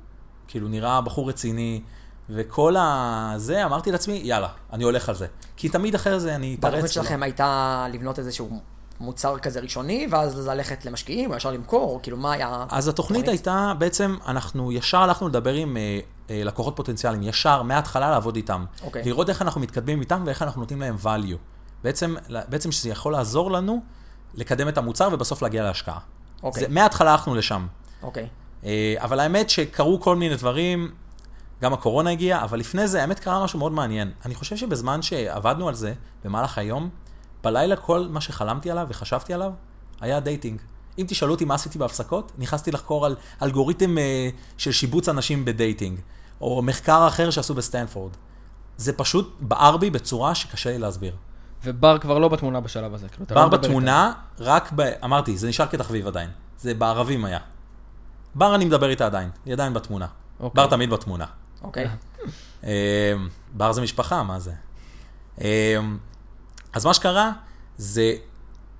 כאילו נראה בחור רציני, וכל ה... זה, אמרתי לעצמי, יאללה, אני הולך על זה. כי תמיד אחרי זה אני אתרץ. התוכנית ולא- שלכם הייתה לבנות איזשהו מוצר כזה ראשוני, ואז ללכת למשקיעים, או ישר למכור, כאילו מה היה... אז התוכנית אוקיי. הייתה, בעצם אנחנו ישר הלכנו לדבר עם אה, אה, לקוחות פוטנציאליים, ישר, מההתחלה לעבוד איתם. אוקיי. לראות איך אנחנו מתקדמים איתם ואיך אנחנו נותנים להם value. בעצם, בעצם שזה יכול לעזור לנו לקדם את המוצר ובסוף להגיע להשקעה. אוקיי. זה- מההתחלה הלכנו לשם. אוקיי, אה, אבל האמת שקרו כל מיני דברים, גם הקורונה הגיעה, אבל לפני זה, האמת קרה משהו מאוד מעניין. אני חושב שבזמן שעבדנו על זה, במהלך היום, בלילה כל מה שחלמתי עליו וחשבתי עליו, היה דייטינג. אם תשאלו אותי מה עשיתי בהפסקות, נכנסתי לחקור על אלגוריתם אה, של שיבוץ אנשים בדייטינג, או מחקר אחר שעשו בסטנפורד. זה פשוט בער בי בצורה שקשה לי להסביר. ובר כבר לא בתמונה בשלב הזה. כאילו, אתה לא בר מדבר איתה. בתמונה, רק ב... אמרתי, זה נשאר כתחביב עדיין. זה בערבים היה. בר אני מדבר איתה עדיין, היא עדיין בתמונה. אוקיי. בר תמיד בתמונה. אוקיי. אה, בר זה משפחה, מה זה? אה, אז מה שקרה, זה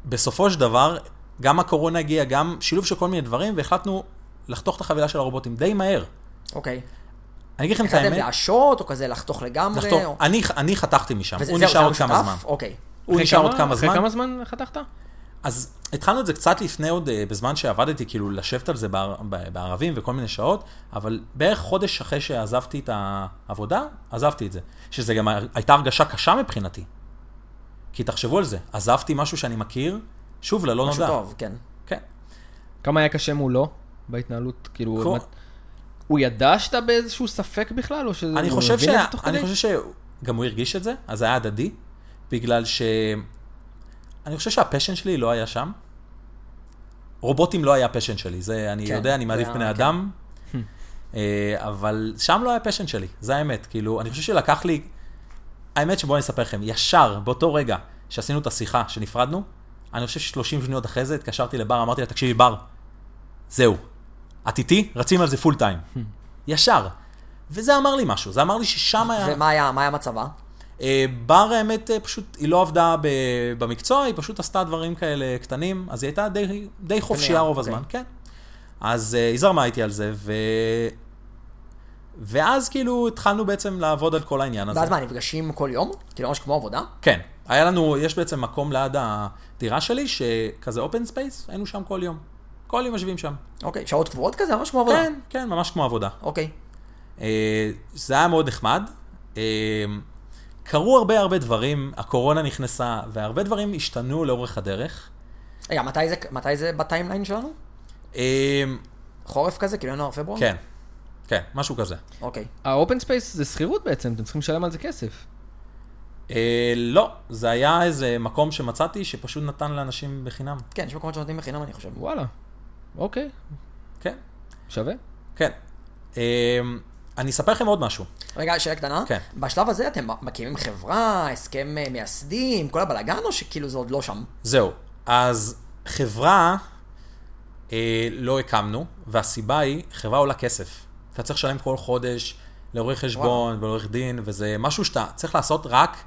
בסופו של דבר, גם הקורונה הגיעה, גם שילוב של כל מיני דברים, והחלטנו לחתוך את החבילה של הרובוטים די מהר. אוקיי. אני אגיד לכם את החלטתם האמת, להשעות, או כזה לחתוך לגמרי? לחתוך, או- אני, אני חתכתי משם, וזה- הוא זהו, נשאר זה עוד כמה המשותף? זמן. אוקיי. הוא אחרי נשאר עוד כמה אחרי זמן. כמה זמן חתכת? אז התחלנו את זה קצת לפני עוד, אה, בזמן שעבדתי, כאילו לשבת על זה בער, ב- בערבים וכל מיני שעות, אבל בערך חודש אחרי שעזבתי את העבודה, עזבתי את זה. שזה גם הר- הייתה הרגשה קשה מבחינתי. כי תחשבו על זה, עזבתי משהו שאני מכיר, שוב, ללא משהו לא נודע. טוב, כן. כן. כמה היה קשה מולו בהתנהלות? כאילו, כל- הוא- הוא ידע שאתה באיזשהו ספק בכלל, או שזה... אני הוא חושב, הבין שה... את זה תוך אני כדי? חושב שגם הוא הרגיש את זה, אז זה היה הדדי, בגלל ש... אני חושב שהפשן שלי לא היה שם. רובוטים לא היה הפשן שלי, זה אני כן, כן, יודע, אני זה מעדיף היה- בני כן. אדם, אה, אבל שם לא היה הפשן שלי, זה האמת, כאילו, אני חושב שלקח לי... האמת שבואו אני אספר לכם, ישר, באותו רגע שעשינו את השיחה, שנפרדנו, אני חושב ש-30 שניות אחרי זה התקשרתי לבר, אמרתי לה, תקשיבי בר, זהו, את איתי? רצים על זה פול טיים. ישר. וזה אמר לי משהו, זה אמר לי ששם היה... ומה היה מה היה מצבה? אה, בר האמת אה, פשוט, היא לא עבדה ב, במקצוע, היא פשוט עשתה דברים כאלה קטנים, אז היא הייתה די, די חופשייה רוב אוקיי. הזמן, כן. אז אה, היא זרמה איתי על זה, ו... ואז כאילו התחלנו בעצם לעבוד על כל העניין הזה. ואז מה, נפגשים כל יום? כאילו ממש כמו עבודה? כן, היה לנו, יש בעצם מקום ליד הדירה שלי, שכזה אופן ספייס, היינו שם כל יום. כל יום יושבים שם. אוקיי. שעות קבועות כזה? ממש כמו עבודה? כן, כן, ממש כמו עבודה. אוקיי. אה, זה היה מאוד נחמד. אה, קרו הרבה הרבה דברים, הקורונה נכנסה, והרבה דברים השתנו לאורך הדרך. רגע, מתי זה- מתי זה בטיימליין שלנו? אה, חורף כזה? כאילו ינואר פברואר? כן, כן, משהו כזה. אוקיי. האופן ספייס זה שכירות בעצם, אתם צריכים לשלם על זה כסף. אה, לא, זה היה איזה מקום שמצאתי שפשוט נתן לאנשים בחינם. כן, יש מקומות שנותנים בחינם, אני חושב. וואלה. אוקיי, כן, שווה. כן. אה, אני אספר לכם עוד משהו. רגע, שאלה קטנה. כן. בשלב הזה אתם מקימים חברה, הסכם אה, מייסדים, כל הבלאגן, או שכאילו זה עוד לא שם? זהו, אז חברה אה, לא הקמנו, והסיבה היא, חברה עולה כסף. אתה צריך לשלם כל חודש לעורך חשבון ולעורך דין, וזה משהו שאתה צריך לעשות רק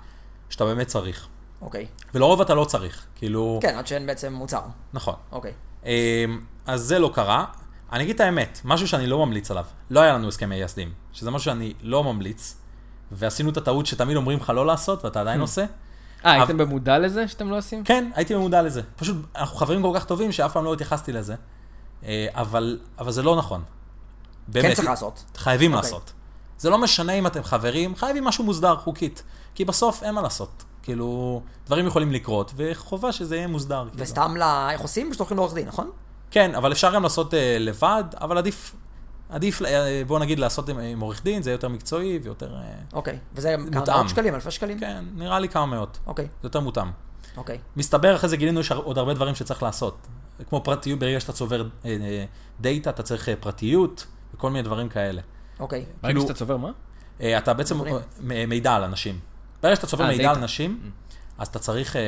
כשאתה באמת צריך. אוקיי. ולרוב אתה לא צריך, כאילו... כן, עד שאין בעצם מוצר. נכון. אוקיי. אה, אז זה לא קרה. אני אגיד את האמת, משהו שאני לא ממליץ עליו. לא היה לנו הסכם מייסדים, שזה משהו שאני לא ממליץ, ועשינו את הטעות שתמיד אומרים לך לא לעשות, ואתה עדיין עושה. אה, אבל- הייתם במודע לזה שאתם לא עושים? כן, הייתי ממודע לזה. פשוט, אנחנו חברים כל כך טובים שאף פעם לא התייחסתי לזה. אה, אבל, אבל זה לא נכון. באמת. כן צריך לעשות. חייבים אוקיי. לעשות. זה לא משנה אם אתם חברים, חייבים משהו מוסדר חוקית. כי בסוף אין מה לעשות. כאילו, דברים יכולים לקרות, וחובה שזה יהיה מוסדר. כאילו. וסתם ל... איך עושים? פשוט הולכים לעורך דין, נכון? כן, אבל אפשר גם לעשות אה, לבד, אבל עדיף, עדיף, אה, בוא נגיד, לעשות עם, עם עורך דין, זה יהיה יותר מקצועי ויותר... אה, אוקיי. וזה כמה מותאם. מאות שקלים, אלפי שקלים? כן, נראה לי כמה מאות. אוקיי, זה יותר מותאם. אוקיי. מסתבר אחרי זה גילינו יש הר- עוד הרבה דברים שצריך לעשות. כמו פרטיות, ברגע שאתה צובר אה, אה, דאטה, אתה צריך אה, פרטיות וכל מיני דברים כאלה. אוקיי. ברגע כאילו- שאתה צובר מה? אה, אתה בעצם דברים. אה, מ- מידע על אנשים. ברגע שאתה צובר אה, מידע דאטה. על אנשים, אז אתה צריך אה,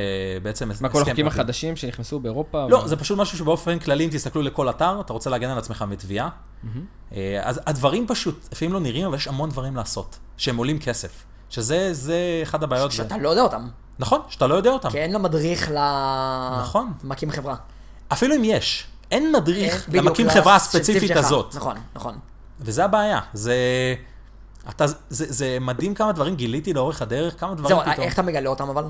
בעצם מה, כל הסכם החוקים פרטי. החדשים שנכנסו באירופה? אוקיי. לא, אבל- זה פשוט משהו שבאופן כללי, אם תסתכלו לכל אתר, אתה רוצה להגן על עצמך מתביעה. אה, אז הדברים פשוט, לפעמים לא נראים, אבל יש המון דברים לעשות, שהם עולים כסף. שזה זה אחד הבעיות. שאתה לא יודע אותם. נכון, שאתה לא יודע אותם. כי אין למדריך ל... נכון. מקים חברה. אפילו אם יש, אין מדריך בדיוק, למקים לס- חברה ספציפית הספציפית שלך. הזאת. נכון, נכון. וזה הבעיה, זה... אתה, זה, זה מדהים כמה דברים גיליתי לאורך הדרך, כמה דברים זהו, פתאום. איך אתה מגלה אותם אבל?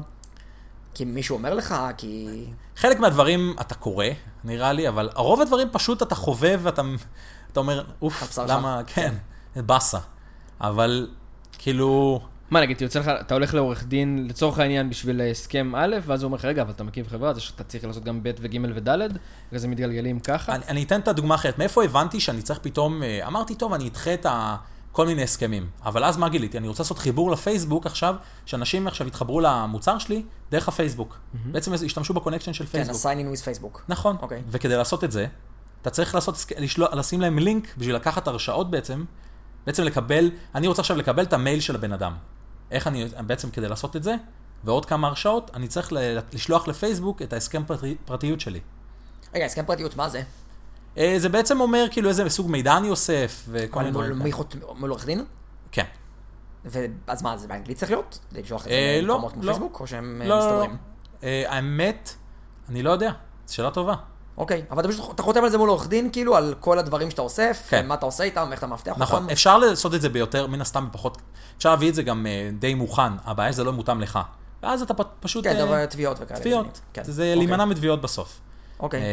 כי מישהו אומר לך, כי... חלק מהדברים אתה קורא, נראה לי, אבל רוב הדברים פשוט אתה חווה ואתה אתה אומר, אוף, הבשר למה, כן, באסה. אבל כאילו, מה, נגיד, יוצא לך, אתה הולך לעורך דין לצורך העניין בשביל אה, הסכם א', ואז הוא אומר לך, רגע, אבל אתה מקים חברה, אז אתה צריך לעשות גם ב' וג' וד', ואז הם מתגלגלים ככה. אני, אני אתן את הדוגמה אחרת. מאיפה הבנתי שאני צריך פתאום, אה, אמרתי, טוב, אני אדחה את כל מיני הסכמים. אבל אז מה גיליתי? אני רוצה לעשות חיבור לפייסבוק עכשיו, שאנשים עכשיו יתחברו למוצר שלי דרך הפייסבוק. בעצם ישתמשו בקונקשן של כן, פייסבוק. ה-sign in with פייסבוק. נכון. אוקיי. וכדי לעשות את זה, אתה צריך לעשות, הסכ- לשלוח- לשים להם לינק בשביל לקחת הרשאות בעצם, בעצם לקבל, אני רוצה עכשיו לקבל את המייל של הבן אדם. איך אני, בעצם כדי לעשות את זה, ועוד כמה הרשאות, אני צריך ל- לשלוח לפייסבוק את ההסכם פרטי, פרטיות שלי. רגע, הסכם פרטיות, מה זה? אה, זה בעצם אומר כאילו איזה סוג מידע אני אוסף, וכל מיני מול דברים. מי כאלה. חות... מול עורך דין? כן. ואז מה, זה באנגלית צריך להיות? כדי לשלוח את אה, זה לא, למקומות כמו לא. פייסבוק? או שהם אה, לא, לא, לא. מסתדרים? אה, האמת, אני לא יודע, זו שאלה טובה. אוקיי, אבל אתה פשוט אתה חותם על זה מול עורך דין, כאילו, על כל הדברים שאתה אוסף, כן. מה אתה עושה איתם, איך אתה מאבטח אותם. נכון, אפשר לעשות את זה ביותר, מן הסתם בפחות, אפשר להביא את זה גם אה, די מוכן, הבעיה שזה לא מותאם לך. ואז אתה פ- פשוט... כן, אה, דבר תביעות וכאלה. תביעות. בעניינים. כן. זה אוקיי. להימנע מתביעות בסוף. אוקיי, אה,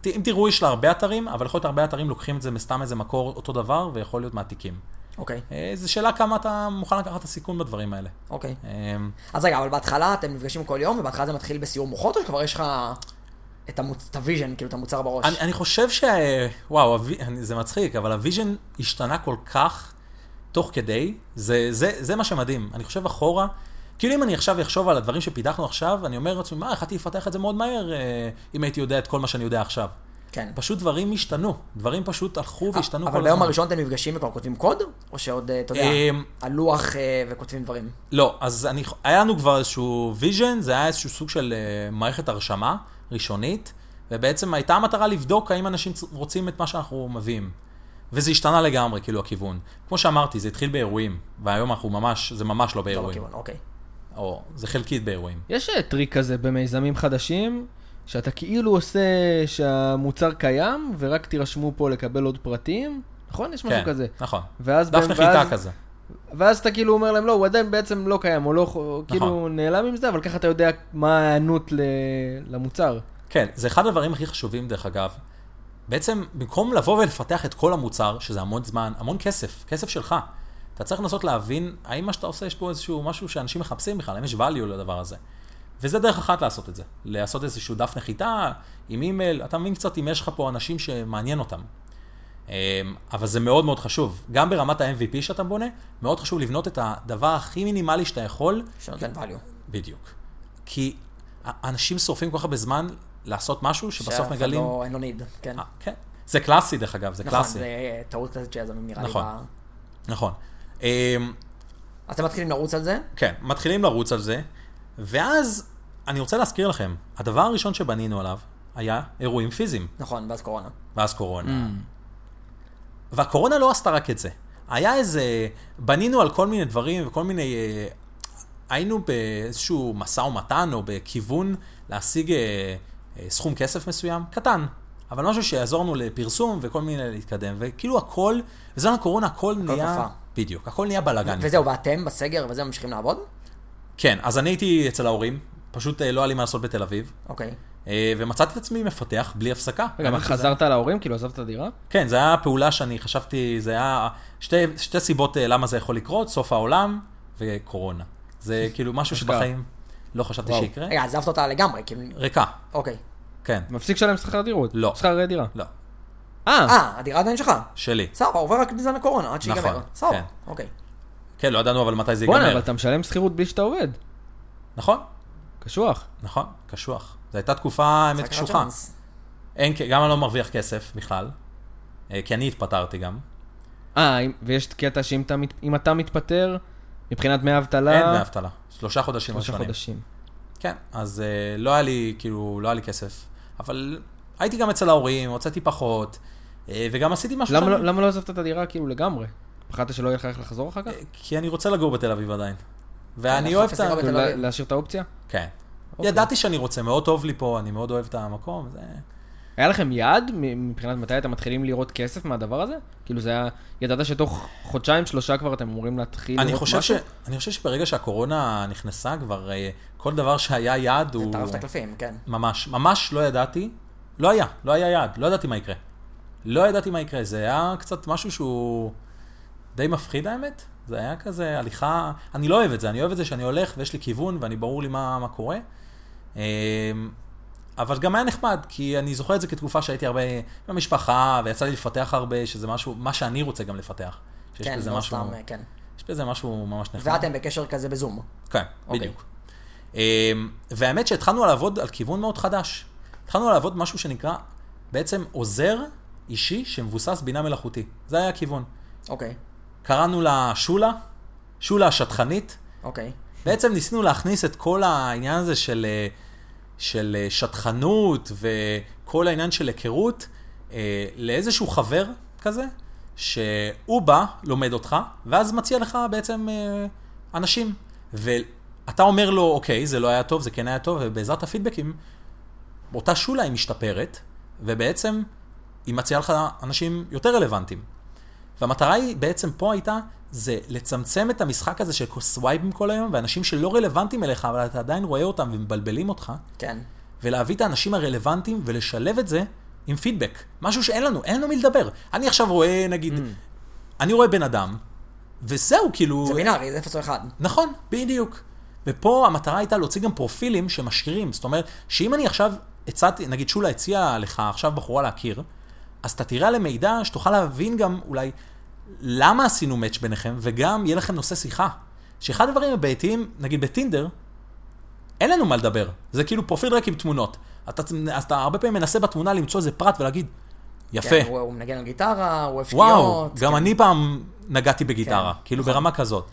ת- אם תראו, יש לה הרבה אתרים, אבל יכול להיות הרבה אתרים לוקחים את זה מסתם איזה מקור אותו דבר, ויכול להיות מעתיקים. אוקיי, אה, זו שאלה כמה אתה מוכן לקחת את הסיכון בדברים האלה. אוקיי. אה, אז רגע, אבל בהתחלה אתם נפגשים כל יום, ובהתחלה זה מתחיל בסיור מוחות, או שכבר יש לך את המוצ- את הוויז'ן, כאילו, את המוצר בראש? אני, אני חושב ש... וואו, הווי- אני- זה מצחיק, אבל הוויז'ן השתנה כל כך תוך כדי, זה, זה, זה מה שמדהים. אני חושב אחורה, כאילו אם אני עכשיו אחשוב על הדברים שפיתחנו עכשיו, אני אומר לעצמי, מה, יכלתי לפתח את זה מאוד מהר, אה, אם הייתי יודע את כל מה שאני יודע עכשיו. כן. אה, פשוט דברים השתנו, דברים פשוט הלכו והשתנו כל אבל ביום הראשון אתם נפגשים וכבר כותבים קוד? או שעוד, אה, אתה יודע, אמ, על לוח אה, וכותבים דברים? לא, אז אני, היה לנו כבר איזשהו ויז'ן, זה היה איזשהו סוג של אה, מערכת הרשמה ראשונית, ובעצם הייתה המטרה לבדוק האם אנשים צ- רוצים את מה שאנחנו מביאים. וזה השתנה לגמרי, כאילו, הכיוון. כמו שאמרתי, זה התחיל באירועים, והיום אנחנו ממש, זה ממש לא זה לא באירועים. בכיוון, אוקיי. או, זה חלקית באירועים. יש אה, טריק כזה במיזמים חדשים, שאתה כאילו עושה שהמוצר קיים, ורק תירשמו פה לקבל עוד פרטים, נכון? יש משהו כן, כזה. נכון. ואז... דף בהם- נחיתה ואז- כזה. ואז אתה כאילו אומר להם, לא, הוא עדיין בעצם לא קיים, הוא לא, נכון. כאילו נכון. נעלם עם זה, אבל ככה אתה יודע מה ההיענות ל- למוצר. כן, זה אחד הדברים הכי חשובים, דרך אגב. בעצם, במקום לבוא ולפתח את כל המוצר, שזה המון זמן, המון כסף, כסף שלך, אתה צריך לנסות להבין האם מה שאתה עושה, יש פה איזשהו משהו שאנשים מחפשים בכלל, האם יש value לדבר הזה. וזה דרך אחת לעשות את זה. לעשות איזשהו דף נחיתה עם אימייל, אתה מבין קצת אם יש לך פה אנשים שמעניין אותם. אמ, אבל זה מאוד מאוד חשוב. גם ברמת ה-MVP שאתה בונה, מאוד חשוב לבנות את הדבר הכי מינימלי שאתה יכול, שנותן value. בדיוק. כי אנשים שורפים כל כך הרבה זמן לעשות משהו שאף שבסוף אחד מגלים... לא- אין לו need, כן. אה, כן. זה קלאסי דרך אגב, זה נכון, קלאסי. זה אה, טעות כזאת שיזמים נראה לי. נכון. ב- נכון. אמ, אז אתם מתחילים לרוץ על זה? כן, מתחילים לרוץ על זה, ואז אני רוצה להזכיר לכם, הדבר הראשון שבנינו עליו היה אירועים פיזיים, נכון, ואז קורונה. ואז קורונה. Mm. והקורונה לא עשתה רק את זה. היה איזה... בנינו על כל מיני דברים וכל מיני... אה, היינו באיזשהו משא ומתן או בכיוון להשיג אה, אה, סכום כסף מסוים, קטן, אבל משהו שיעזור לנו לפרסום וכל מיני להתקדם, וכאילו הכל, בזמן הקורונה הכל נהיה... קפא. בדיוק, הכל נהיה בלאגן. וזהו, ואתם בסגר וזה ממשיכים לעבוד? כן, אז אני הייתי אצל ההורים, פשוט אה, לא היה לי מה לעשות בתל אביב, אוקיי. אה, ומצאתי את עצמי מפתח בלי הפסקה. רגע, מה, האמת שזה- חזרת להורים? כאילו עזבת את הדירה? כן, זו הייתה פעולה שאני חשבתי, זה היה שתי, שתי סיבות אה, למה זה יכול לקרות, סוף העולם וקורונה. זה כאילו משהו אשכרה. שבחיים לא חשבתי וואו. שיקרה. רגע, עזבת אותה לגמרי, כאילו... ריקה, אוקיי. כן, מפסיק לשלם שכר דירות? לא. שכר דירה. לא, אה, אה, הדירה עדיין שלך. שלי. סבבה, עובר רק בזמן הקורונה, עד שיגמר. נכון, סבבה, כן. אוקיי. כן, לא ידענו אבל מתי זה בואנה, אבל ייגמר. אתה משלם שכירות בלי שאתה עובד. נכון, קשוח. נכון, קשוח. זו הייתה תקופה, האמת, לקחת קשוחה. צ'אנס. אין, כ- גם אני לא מרוויח כסף בכלל, אה, כי אני התפטרתי גם. אה, אם- ויש קטע שאם אתה מת- אם אתה מתפטר, מבחינת דמי אבטלה... אין דמי אבטלה, לא שלושה חודשים שלושה ראשונים. חודשים. כן, אז אה, לא היה לי, כאילו, לא היה לי כסף. אבל הייתי גם אצל ההורים, הוצאתי פחות, אה, וגם עשיתי משהו למה שאני- לא- למה לא עזבת את הדירה כאילו לגמרי? פחדת שלא יהיה לך איך לחזור אחר כך? כי אני רוצה לגור בתל אביב עדיין. ואני אנחנו אוהב את אפס ה... לגבי- כאילו, בתל אביב. לה- להשאיר את האופציה? כן. אוקיי. ידעתי שאני רוצה, מאוד טוב לי פה, אני מאוד אוהב את המקום. זה... היה לכם יעד מ- מבחינת מתי אתם מתחילים לראות כסף מהדבר הזה? כאילו זה היה, ידעת שתוך חודשיים, שלושה כבר אתם אמורים להתחיל אני לראות חושב, ש... משהו? אני חושב שברגע שהקורונה נכנסה כבר, אה, כל דבר שהיה יעד הוא... טרף את הקלפים, כן. ממש, ממש לא ידעתי. לא היה, לא היה יעד, לא ידעתי מה יקרה. לא ידעתי מה יקרה, זה היה קצת משהו שהוא די מפחיד האמת. זה היה כזה הליכה, אני לא אוהב את זה, אני אוהב את זה שאני הולך ויש לי כיוון ואני ברור לי מה, מה קורה. אמ, אבל גם היה נחמד, כי אני זוכר את זה כתקופה שהייתי הרבה עם המשפחה, ויצא לי לפתח הרבה, שזה משהו, מה שאני רוצה גם לפתח. שיש כן, בזה לא משהו, נכון. סתם, אה, כן. יש בזה משהו ממש נחמד. ואתם בקשר כזה בזום. כן, אוקיי. בדיוק. אמ, והאמת שהתחלנו לעבוד על כיוון מאוד חדש. התחלנו לעבוד משהו שנקרא בעצם עוזר אישי שמבוסס בינה מלאכותית. זה היה הכיוון. אוקיי, קראנו לה שולה, שולה השטחנית. אוקיי. בעצם ניסינו להכניס את כל העניין הזה של, אה, של אה, שטחנות וכל העניין של היכרות אה, לאיזשהו חבר כזה, שהוא בא, לומד אותך, ואז מציע לך בעצם אה, אנשים. ואתה אומר לו, אוקיי, זה לא היה טוב, זה כן היה טוב, ובעזרת הפידבקים, אותה שולה היא משתפרת, ובעצם היא מציעה לך אנשים יותר רלוונטיים. והמטרה היא בעצם פה הייתה, זה לצמצם את המשחק הזה של סווייבים כל היום, ואנשים שלא רלוונטיים אליך, אבל אתה עדיין רואה אותם ומבלבלים אותך, כן. ולהביא את האנשים הרלוונטיים ולשלב את זה עם פידבק. משהו שאין לנו, אין לנו מי לדבר. אני עכשיו רואה, נגיד, אני רואה בן אדם, וזהו, כאילו... זה בינארי, זה 0 או 1. נכון, בדיוק. ופה המטרה הייתה להוציא גם פרופילים שמשאירים. זאת אומרת, שאם אני עכשיו הצעתי, נגיד שולה הציעה לך עכשיו בחורה להכיר, אז אתה תראה עליהם מידע שתוכל להבין גם אולי למה עשינו מאץ' ביניכם, וגם יהיה לכם נושא שיחה. שאחד הדברים הבעייתיים, נגיד בטינדר, אין לנו מה לדבר. זה כאילו פרופיל ריק עם תמונות. אתה, אז אתה הרבה פעמים מנסה בתמונה למצוא איזה פרט ולהגיד, יפה. כן, הוא- הוא מנגן על גיטרה, הוא אוהב וואו, שטויות. גם אני פעם נגעתי בגיטרה, כן, אה, כאילו ברמה כזאת.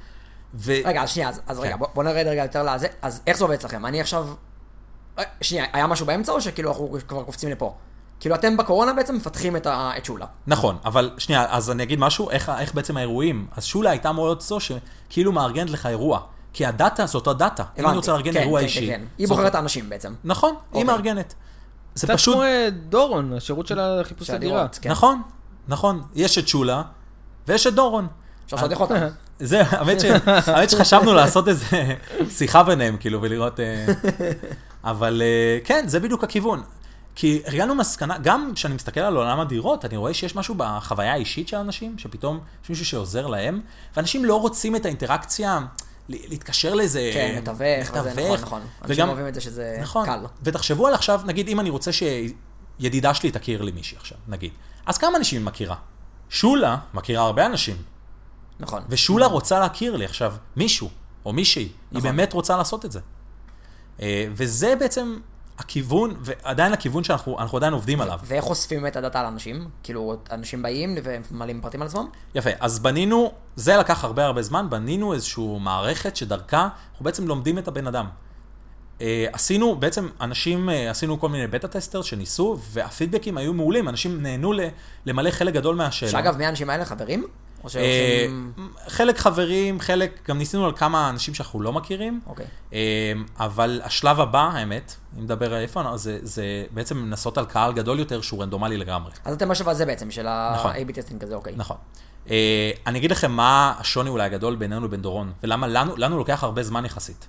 ו... רגע, אז שנייה, אז- אז רגע, כן. בוא- בוא נרד רגע יותר לזה. אז איך זה עובד אצלכם? אני עכשיו... אה, שנייה, היה משהו באמצע או שכאילו אנחנו כבר קופצים לפה? כאילו אתם בקורונה בעצם מפתחים את ה- את שולה. נכון, אבל שנייה, אז אני אגיד משהו, איך, איך בעצם האירועים. אז שולה הייתה מאוד זו שכאילו מארגנת לך אירוע. כי הדאטה זו אותה דאטה. הבנתי. אם אני רוצה לארגן כן, אירוע כן, אישי. כן, כן. היא זו- בוחרת את האנשים בעצם. נכון, אוקיי. היא מארגנת. זה קצת פשוט... כמו אה, דורון, השירות של החיפוש הדירה. שהדירות, כן. נכון, נכון. יש את שולה, ויש את דורון. אפשר לשדך אותם. כן. זה, האמת, ש... האמת שחשבנו לעשות איזה שיחה ביניהם, כאילו, ולראות... אה, אבל אה, כן, זה בדיוק הכיוון. כי הגענו מסקנה, גם כשאני מסתכל על עולם הדירות, אני רואה שיש משהו בחוויה האישית של אנשים, שפתאום יש מישהו שעוזר להם, ואנשים לא רוצים את האינטראקציה, ל- להתקשר לאיזה... כן, מתווך, וזה נכון, מתווך. נכון. אנשים וגם, אוהבים את זה שזה נכון. קל. ותחשבו על עכשיו, נגיד, אם אני רוצה שידידה שלי תכיר לי מישהי עכשיו, נגיד. אז כמה אנשים היא מכירה? שולה מכירה הרבה אנשים. נכון. ושולה רוצה להכיר לי עכשיו מישהו או מישהי, היא נכון. באמת רוצה לעשות את זה. אה, וזה בעצם הכיוון, ועדיין הכיוון שאנחנו אנחנו עדיין עובדים עליו. ואיך אוספים את הדאטה על אנשים? כאילו, אנשים באים והם מעלים פרטים על עצמם? יפה, אז בנינו, זה לקח הרבה הרבה זמן, בנינו איזושהי מערכת שדרכה אנחנו בעצם לומדים את הבן אדם. אה, עשינו, בעצם אנשים, אה, עשינו כל מיני בטה טסטר שניסו, והפידבקים היו מעולים, אנשים נהנו ל- למלא חלק גדול מהשאלה. שאגב, מי האנשים האלה חברים? או אה, שהם... חלק חברים, חלק, גם ניסינו על כמה אנשים שאנחנו לא מכירים. אוקיי. אמ, אבל השלב הבא, האמת, אם נדבר על איפה, אנחנו- זה, זה בעצם לנסות על קהל גדול יותר שהוא רנדומלי לגמרי. אז אתם בשלב הזה בעצם, של נכון. ה-AB טסטינג כזה, אוקיי. נכון. אה, אני אגיד לכם מה השוני אולי הגדול בינינו לבין דורון, ולמה לנו, לנו לוקח הרבה זמן יחסית.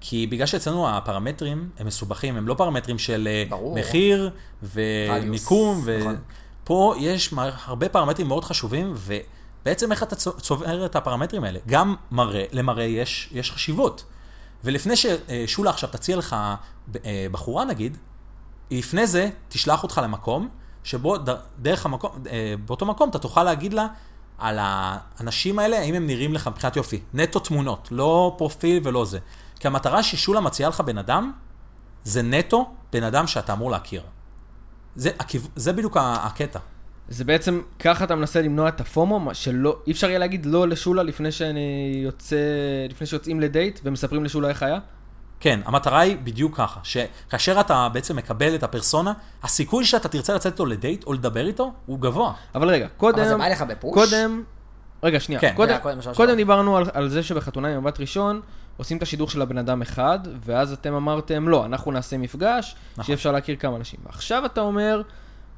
כי בגלל שאצלנו הפרמטרים הם מסובכים, הם לא פרמטרים של אה, ברור. מחיר רדיוס, ומיקום, נכון. ופה יש מר- הרבה פרמטרים מאוד חשובים, ובעצם איך אתה צו- צובר את הפרמטרים האלה. גם מראה, למראה יש, יש חשיבות. ולפני ששולה עכשיו תציע לך אה, בחורה נגיד, היא לפני זה תשלח אותך למקום, שבו ד- דרך המקום, אה, באותו מקום אתה תוכל להגיד לה על האנשים האלה, האם הם נראים לך מבחינת יופי. נטו תמונות, לא פרופיל ולא זה. כי המטרה ששולה מציעה לך בן אדם, זה נטו בן אדם שאתה אמור להכיר. זה, הכיו- זה בדיוק ה- הקטע. זה בעצם, ככה אתה מנסה למנוע את הפומו, מה שלא, אי אפשר יהיה להגיד לא לשולה לפני שאני יוצא, לפני שיוצאים לדייט ומספרים לשולה איך היה? כן, המטרה היא בדיוק ככה, שכאשר אתה בעצם מקבל את הפרסונה, הסיכוי שאתה תרצה לצאת איתו לדייט או לדבר איתו, הוא גבוה. אבל רגע, קודם... אבל זה בא לך בפוש? קודם... רגע, שנייה. כן. קודם, רגע, קודם שאלה קודם שלך. דיברנו על, על זה שבחתונה עם מבט ראשון, עושים את השידור של הבן אדם אחד, ואז אתם אמרתם, לא, אנחנו נעשה מפגש, נכון. שיהיה אפשר להכיר כמה אנשים. ועכשיו אתה אומר,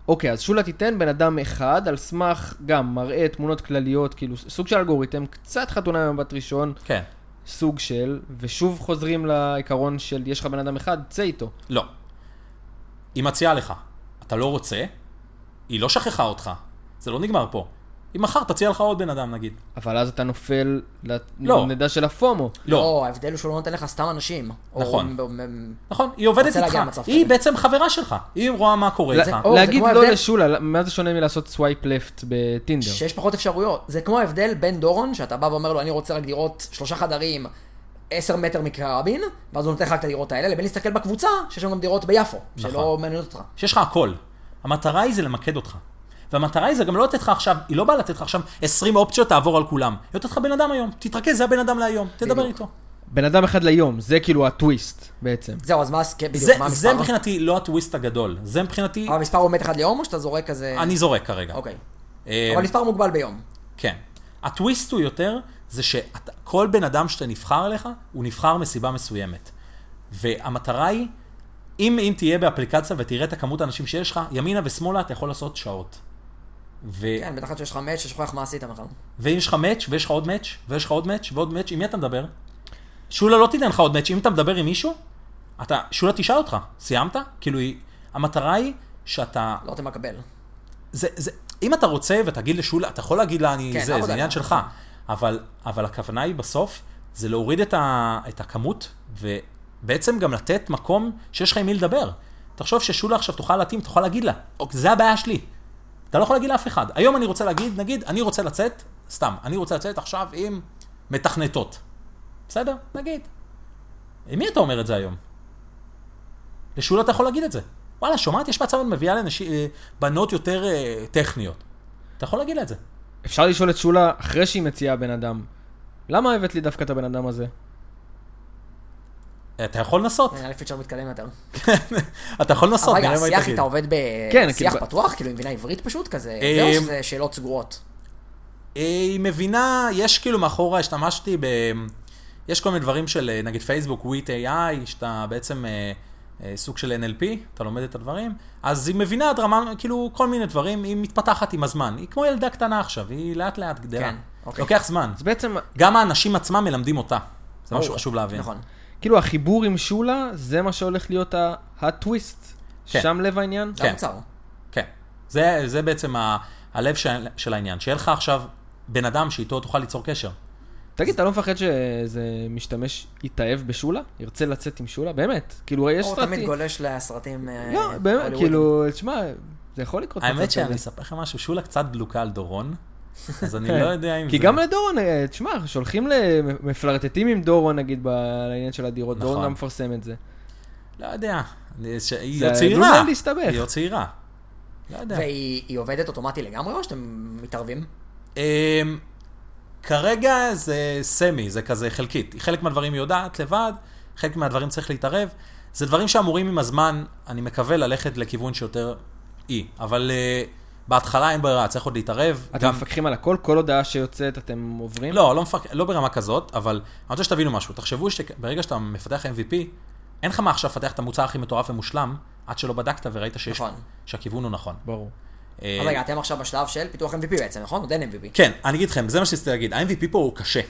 אוקיי, אז שולה תיתן בן אדם אחד, על סמך גם מראה תמונות כלליות, כאילו סוג של אלגוריתם, קצת חתונה עם מבט ראשון, כן. סוג של, ושוב חוזרים לעיקרון של יש לך בן אדם אחד, צא איתו. לא. היא מציעה לך, אתה לא רוצה, היא לא שכחה אותך, זה לא נגמר פה. אם מחר תציע לך עוד בן אדם נגיד. אבל אז אתה נופל לא. לנדע של הפומו. לא, לא, ההבדל הוא שהוא לא נותן לך סתם אנשים. או נכון. מ- מ- נכון, היא עובדת רוצה להגיע איתך, למצב היא כזה. בעצם חברה שלך, היא רואה מה קורה זה- איתך. או, זה להגיד כמו לא ההבדל- לשולה, מה זה שונה מלעשות סווייפ לפט לא. בטינדר? שיש פחות אפשרויות. זה כמו ההבדל בין דורון, שאתה בא ואומר לו, אני רוצה רק דירות שלושה חדרים, עשר מטר מקרבין, ואז הוא נותן לך רק את הדירות האלה, לבין להסתכל בקבוצה, שיש שם גם דירות ביפו, שלא נכון. מעניינות אותך. שיש לך הכל. המטרה היא זה למקד אותך. והמטרה היא זה גם לא לתת לך עכשיו, היא לא באה לתת לך עכשיו 20 אופציות תעבור על כולם. היא נותנת לך בן אדם היום, תתרכז, זה הבן אדם להיום, תדבר בדיוק. איתו. בן אדם אחד ליום, זה כאילו הטוויסט בעצם. זהו, אז מה, הס- כן, זה, בדיוק, מה זה המספר? מבחינתי לא הטוויסט הגדול, זה מבחינתי, אבל המספר הוא מת אחד ליום, או שאתה זורק כזה... אני זורק כרגע. אוקיי. אה, אבל מספר מוגבל ביום. כן. הטוויסט הוא יותר, זה שכל בן אדם שאתה נבחר אליך, הוא נבחר מסיבה מסוימת. והמטרה היא, אם, אם תהיה באפליקציה ותראה את הכמות האנשים שיש לך, ימינה ושמאלה אתה יכול לעשות שעות. ו... כן, בטח עד שיש לך מאץ' ששוכח מה עשית מחר. ואם יש לך מאץ', ויש לך עוד מאץ', ויש לך עוד מאץ', ועוד מאץ', עם מי אתה מדבר? שולה לא תיתן לך עוד מאץ', אם אתה מדבר עם מישהו, אתה, שולה תשאל אותך, סיימת? כאילו, היא- המטרה היא שאתה, לא תמקבל. זה, זה, אם אתה רוצה ותגיד לשולה, אתה יכול להגיד לה, אני, כן, זה, עבודה, זה עניין נכון. שלך, אבל, אבל הכוונה היא בסוף, זה להוריד את, ה, את הכמות, ובעצם גם לתת מקום שיש לך עם מי לדבר. תחשוב ששולה עכשיו תוכל להתאים, תוכל להגיד לה, "אוק, זה הבעיה שלי. אתה לא יכול להגיד לאף אחד. היום אני רוצה להגיד, נגיד, אני רוצה לצאת, סתם, אני רוצה לצאת עכשיו עם מתכנתות. בסדר? נגיד. עם מי אתה אומר את זה היום? לשולה אתה יכול להגיד את זה. וואלה, שומעת? יש מצב מביאה לנשים, אה, בנות יותר אה, טכניות. אתה יכול להגיד לה את זה. אפשר לשאול את שולה, אחרי שהיא מציעה בן אדם, למה הבאת לי דווקא את הבן אדם הזה? אתה יכול לנסות. נראה לי פיצ'ר מתקדם יותר. אתה יכול לנסות, אבל רגע, נראה מה היא השיח תגיד. איתה עובד כן, בשיח כאילו- פתוח? כאילו, היא מבינה עברית פשוט כזה? אה, זה או שזה שאלות סגורות? אה, היא מבינה, יש כאילו מאחורה, השתמשתי ב... יש כל מיני דברים של אה, נגיד פייסבוק, וויט AI, שאתה בעצם אה, אה, סוג של NLP, אתה לומד את הדברים, אז היא מבינה עד רמה, כאילו כל מיני דברים, היא מתפתחת עם הזמן. היא כמו ילדה קטנה עכשיו, היא לאט לאט גדלה. כן, אוקיי. לוקח זמן. אז בעצם, גם האנשים עצמם מלמדים אותה. זה משהו ברור. חשוב להבין. נכון. כאילו החיבור עם שולה, זה מה שהולך להיות ה- הטוויסט. כן. שם לב העניין? זה כן. המוצר. כן. זה, זה בעצם ה, הלב של, של העניין. שיהיה לך עכשיו בן אדם שאיתו תוכל ליצור קשר. תגיד, אתה לא מפחד שאיזה משתמש יתאהב בשולה? ירצה לצאת עם שולה? באמת. כאילו, יש הוא תמיד סרטים. גולש לסרטים אה, לא, באמת, הוליוודיים. כאילו, תשמע, זה יכול לקרות. מצב האמת שאני כזה. אספר לכם משהו, שולה קצת דלוקה על דורון, אז אני לא יודע אם זה... כי גם לדורון, אה, תשמע, שולחים, ל- מפלרטטים עם דורון, נגיד, בעניין של הדירות, נכון. דורון גם מפרסם את זה. לא יודע. אני- ש- היא זה עוד צעירה. עלול להסתבך. היא עוד צעירה. לא יודע. והיא היא עובדת אוטומטי לגמרי או שאתם מתערבים? אמ, כרגע זה סמי, זה כזה חלקית. חלק מהדברים היא יודעת לבד, חלק מהדברים צריך להתערב. זה דברים שאמורים עם הזמן, אני מקווה ללכת לכיוון שיותר אי. אבל אה, בהתחלה אין ברירה, צריך עוד להתערב. אתם מפקחים על הכל? כל הודעה שיוצאת אתם עוברים? לא, לא, מפק... לא ברמה כזאת, אבל אני רוצה שתבינו משהו. תחשבו שברגע שאתה מפתח MVP, אין לך מה עכשיו לפתח את המוצר הכי מטורף ומושלם, עד שלא בדקת וראית שיש... נכון. שהכיוון הוא נכון. ברור. אה, אז רגע, אתם עכשיו בשלב של פיתוח MVP בעצם, נכון? עוד אין MVP. כן, אני אגיד לכם, זה מה שרציתי להגיד. ה-MVP פה הוא קשה.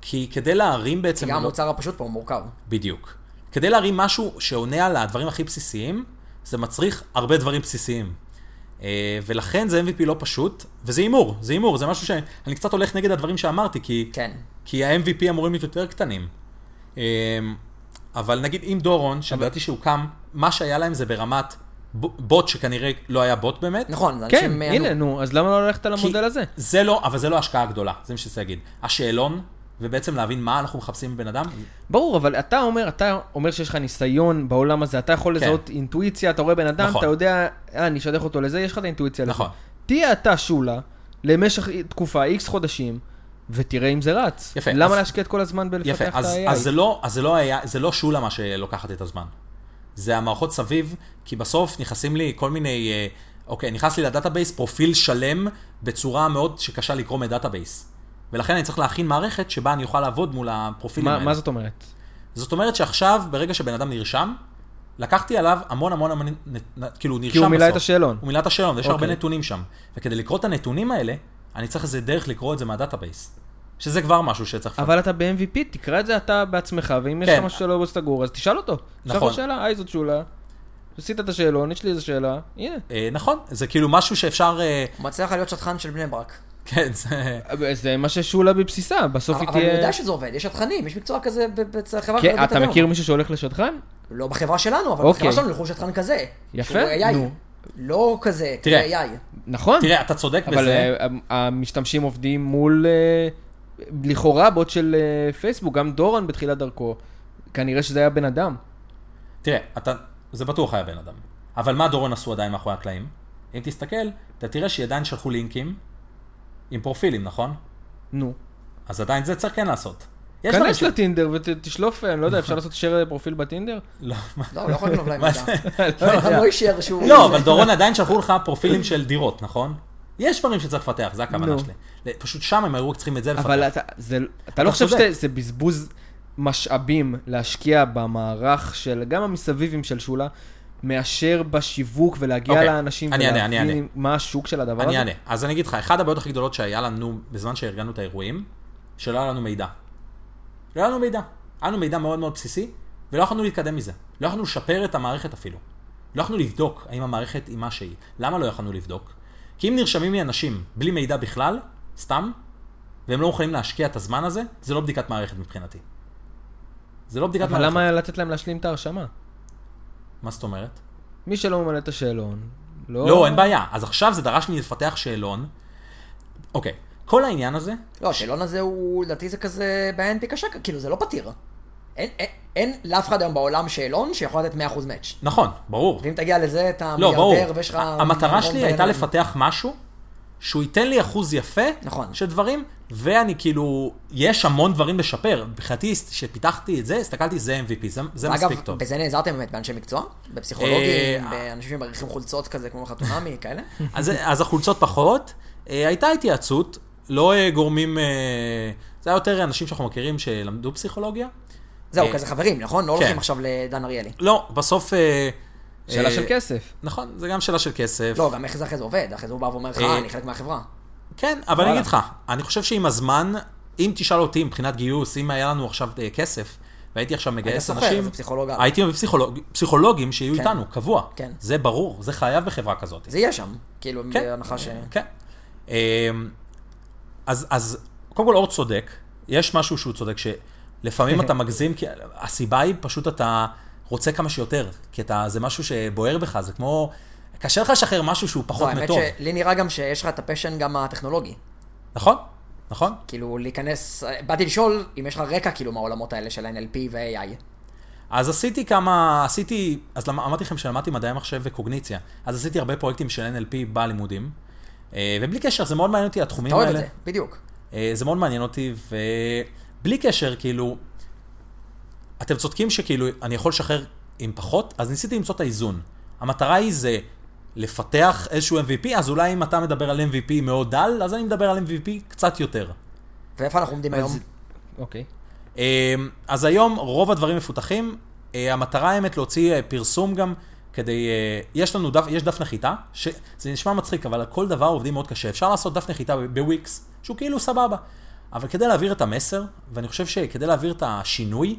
כי כדי להרים בעצם... גם לא- המוצר הפשוט פה הוא מורכב. בדיוק. כדי להרים משהו שעונה על הדברים הכי בסיסיים, זה מצריך הרבה דברים בסיסיים. אה, ולכן זה MVP לא פשוט, וזה הימור, זה הימור, זה משהו שאני קצת הולך נגד הדברים שאמרתי, כי, כן. כי ה-MVP אמורים להיות יותר קטנים. אה, אבל נגיד עם דורון, שידעתי שהוא קם, מה שהיה להם זה ברמת ב- בוט שכנראה לא היה בוט באמת. נכון, זה כן, אנשים... אה, הנה, נו, אז למה לא ללכת על כי- המודל הזה? זה לא, אבל זה לא השקעה גדולה, זה מה שצריך להגיד. השאלון, ובעצם להבין מה אנחנו מחפשים בבן אדם, ברור, אבל אתה אומר, אתה אומר שיש לך ניסיון בעולם הזה, אתה יכול כן. לזהות אינטואיציה, אתה רואה בן אדם, נכון. אתה יודע, אה, אני אשדך אותו לזה, יש לך את האינטואיציה לזה. נכון. תהיה אתה שולה, למשך תקופה, איקס חודשים, ותראה אם זה רץ. יפה, למה אז- להשקיע את כל הזמן יפה, בלפתח את אז, ה-AI? אז, זה לא, אז זה, לא היה, זה לא שולה מה שלוקחת את הזמן. זה המערכות סביב, כי בסוף נכנסים לי כל מיני, אה, אוקיי, נכנס לי לדאטאבייס פרופיל שלם בצורה מאוד שקשה לקרוא מדאטאבייס. ולכן אני צריך להכין מערכת שבה אני אוכל לעבוד מול הפרופילים מה- האלה. מה זאת אומרת? זאת אומרת שעכשיו, ברגע שבן אדם נרשם, לקחתי עליו המון המון המון, נ- נ- כאילו הוא נרשם כי הוא מילא בסוף. את השאלון. הוא מילא את השאלון, ויש הרבה אוקיי. נתונים שם. וכדי לקרוא את הנתונים האלה, אני צריך איזה דרך לקרוא את זה מהדאטאבייס. שזה כבר משהו שצריך... אבל אתה ב-MVP, תקרא את זה אתה בעצמך, ואם יש כן. לך משהו שלא סגור, אז תשאל אותו. תשאל נכון. אותו שאלה, היי זאת שולה, עשית את השאלון, יש לי איזו שאלה, הנה. אה, נכון, זה כאילו משהו שאפשר... אה, הוא מצליח להיות שטחן של בני ברק. כן, זה... אבל זה מה ששולה בבסיסה, בסוף אבל היא אבל אני תהיה... יודע שזה עובד, יש שטחנים, יש מקצוע כזה בחברה כן, אתה מכיר מישהו שהולך לשדכן? לא בחברה שלנו, אבל אוקיי. בחברה שלנו ילכו לשטחן כזה. יפה, שהוא AI. נו. לא כזה, תראה. כזה AI. נכון, תראה, אתה צודק אבל בזה. אה, המ- המשתמשים עובדים מול אה, לכאורה בוט של אה, פייסבוק, גם דורון בתחילת דרכו, כנראה שזה היה בן אדם. תראה, אתה... זה בטוח היה בן אדם. אבל מה דורון עשו עדיין מאחורי הקלעים? אם תסתכל, אתה תראה שעדיין שלחו לינקים עם פרופילים, נכון? נו. אז אז עדיין זה צריך כן לעשות. יש נכון. דברים כנס ש- לטינדר ותשלוף, אני לא יודע, אפשר לעשות share פרופיל בטינדר? לא, מה- לא, הוא לא יכול לגנוב להם מה מידע. זה? הוא לא אישר שהוא... לא, אבל דורון עדיין שלחו לך פרופילים של דירות, נכון? יש דברים שצריך לפתח, זה הכוונה נו. שלי. פשוט שם הם היו צריכים את זה לפתח. אבל אתה, זה, אתה לא חושב צודק. שזה בזבוז משאבים להשקיע במערך של, גם המסביבים של שולה, מאשר בשיווק ולהגיע אוקיי. לאנשים אני אענה, אני אענה. ולהבין מה השוק של הדבר הזה? אני אענה. אז אני אגיד לך, אחת הבעיות הכי גדולות שהיה לנו בזמן שארגנו את האירועים, שלא היה לנו מידע. לא היה לנו מידע. היה לנו מידע מאוד מאוד בסיסי, ולא יכולנו להתקדם מזה. לא יכולנו לשפר את המערכת אפילו. לא יכולנו לבדוק האם המערכת היא מה שהיא. למה לא יכולנו לבדוק? כי אם נרשמים לי אנשים בלי מידע בכלל, סתם, והם לא מוכנים להשקיע את הזמן הזה, זה לא בדיקת מערכת מבחינתי. זה לא בדיקת אבל מערכת. למה לתת להם להשלים את ההרשמה? מה זאת אומרת? מי שלא ממלא את השאלון, לא... לא, אין בעיה. אז עכשיו זה דרש ממני לפתח שאלון. אוקיי, כל העניין הזה, לא, השאלון הזה הוא, לדעתי זה כזה בעין פיקה שקה, כאילו זה לא פתיר. אין- אין- אין לאף אחד היום בעולם שאלון שיכול לתת 100% מאץ'. נכון, ברור. ואם תגיע לזה, אתה לא, ברור. מיליארדר ויש לך... המטרה שלי מיליון הייתה בעיניים. לפתח משהו שהוא ייתן לי אחוז יפה נכון. של דברים, ואני כאילו, יש המון דברים לשפר. מבחינתי, כשפיתחתי את זה, הסתכלתי, זה MVP, זה, זה מספיק אגב, טוב. בזה נעזרתם באמת באנשי מקצוע? בפסיכולוגים, אה, באנשים שמעריכים חולצות כזה, כמו חתונמי, כאלה? אז, אז החולצות פחות, אה, הייתה התייעצות, לא אה, גורמים, אה, זה היה יותר אנשים שאנחנו מכירים שלמדו פסיכולוגיה. זהו, אה, כזה חברים, נכון? לא כן. הולכים עכשיו לדן אריאלי. לא, בסוף... אה, שאלה אה, של כסף. נכון, זה גם שאלה של כסף. לא, גם איך זה אחרי זה עובד, אחרי זה הוא בא ואומר לך, אה, אני חלק מהחברה. כן, אבל אני וואלה. אגיד לך, אני חושב שעם הזמן, אם תשאל אותי מבחינת גיוס, אם היה לנו עכשיו אה, כסף, והייתי עכשיו מגייס סוחר, אנשים, זה פסיכולוג על. הייתי מביא פסיכולוג- פסיכולוגים שיהיו כן. איתנו, קבוע. כן. זה ברור, זה חייב בחברה כזאת. זה יהיה שם, כאילו, כן. בהנחה ש... כן. אמ, אז, אז קודם כל אור צודק, יש משהו שהוא צודק, שלפעמים אתה מגזים, כי הסיבה היא פשוט אתה רוצה כמה שיותר, כי אתה, זה משהו שבוער בך, זה כמו, קשה לך לשחרר משהו שהוא לא, פחות האמת מטוב, שלי נראה גם שיש לך את הפשן גם הטכנולוגי. נכון? נכון? כאילו, להיכנס... באתי לשאול אם יש לך רקע, כאילו, מהעולמות האלה של NLP ו-AI. אז עשיתי כמה, עשיתי, אז למ- אמרתי לכם שלמדתי מדעי מחשב וקוגניציה, אז עשיתי הרבה פרויקטים של NLP בלימודים, אה, ובלי קשר, זה מאוד מעניין אותי התחומים אתה אוהב את האלה. זה, בדיוק. אה, זה מאוד מעניין אותי, ובלי קשר, כאילו, אתם צודקים שכאילו, אני יכול לשחרר עם פחות, אז ניסיתי למצוא את האיזון. המטרה היא זה לפתח איזשהו MVP, אז אולי אם אתה מדבר על MVP מאוד דל, אז אני מדבר על MVP קצת יותר. ואיפה אנחנו עומדים היום? אוקיי. אמ, אז היום רוב הדברים מפותחים, אה, המטרה האמת להוציא אה, פרסום גם כדי, אה, יש לנו דף, יש דף נחיתה, שזה נשמע מצחיק, אבל על כל דבר עובדים מאוד קשה, אפשר לעשות דף נחיתה ב- בוויקס, שהוא כאילו סבבה, אבל כדי להעביר את המסר, ואני חושב שכדי להעביר את השינוי,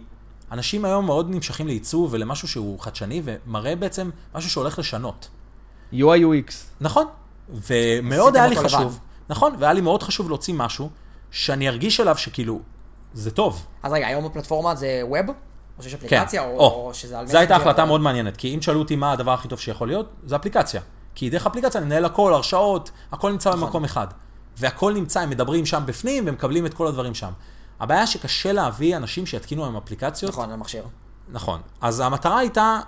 אנשים היום מאוד נמשכים לעיצוב ולמשהו שהוא חדשני ומראה בעצם משהו שהולך לשנות. UI UX. נכון, ומאוד היה לי עשיתם אותו חשוב, לבד. נכון, והיה לי מאוד חשוב להוציא משהו שאני ארגיש אליו שכאילו, זה טוב. אז רגע, היום הפלטפורמה זה ווב? או שיש כן. אפליקציה? או או שזה על... זו הייתה מסנג'ר? החלטה מאוד מעניינת, כי אם שאלו אותי מה הדבר הכי טוב שיכול להיות, זה אפליקציה. כי דרך אפליקציה אני מנהל הכל, הרשאות, הכל נמצא נכון. במקום אחד. והכל נמצא, הם מדברים שם בפנים, והם מקבלים את כל הדברים שם. הבעיה שקשה להביא אנשים שיתקינו היום אפליקציות. נכון, על מכשיר. נכון. אז המטרה הייתה,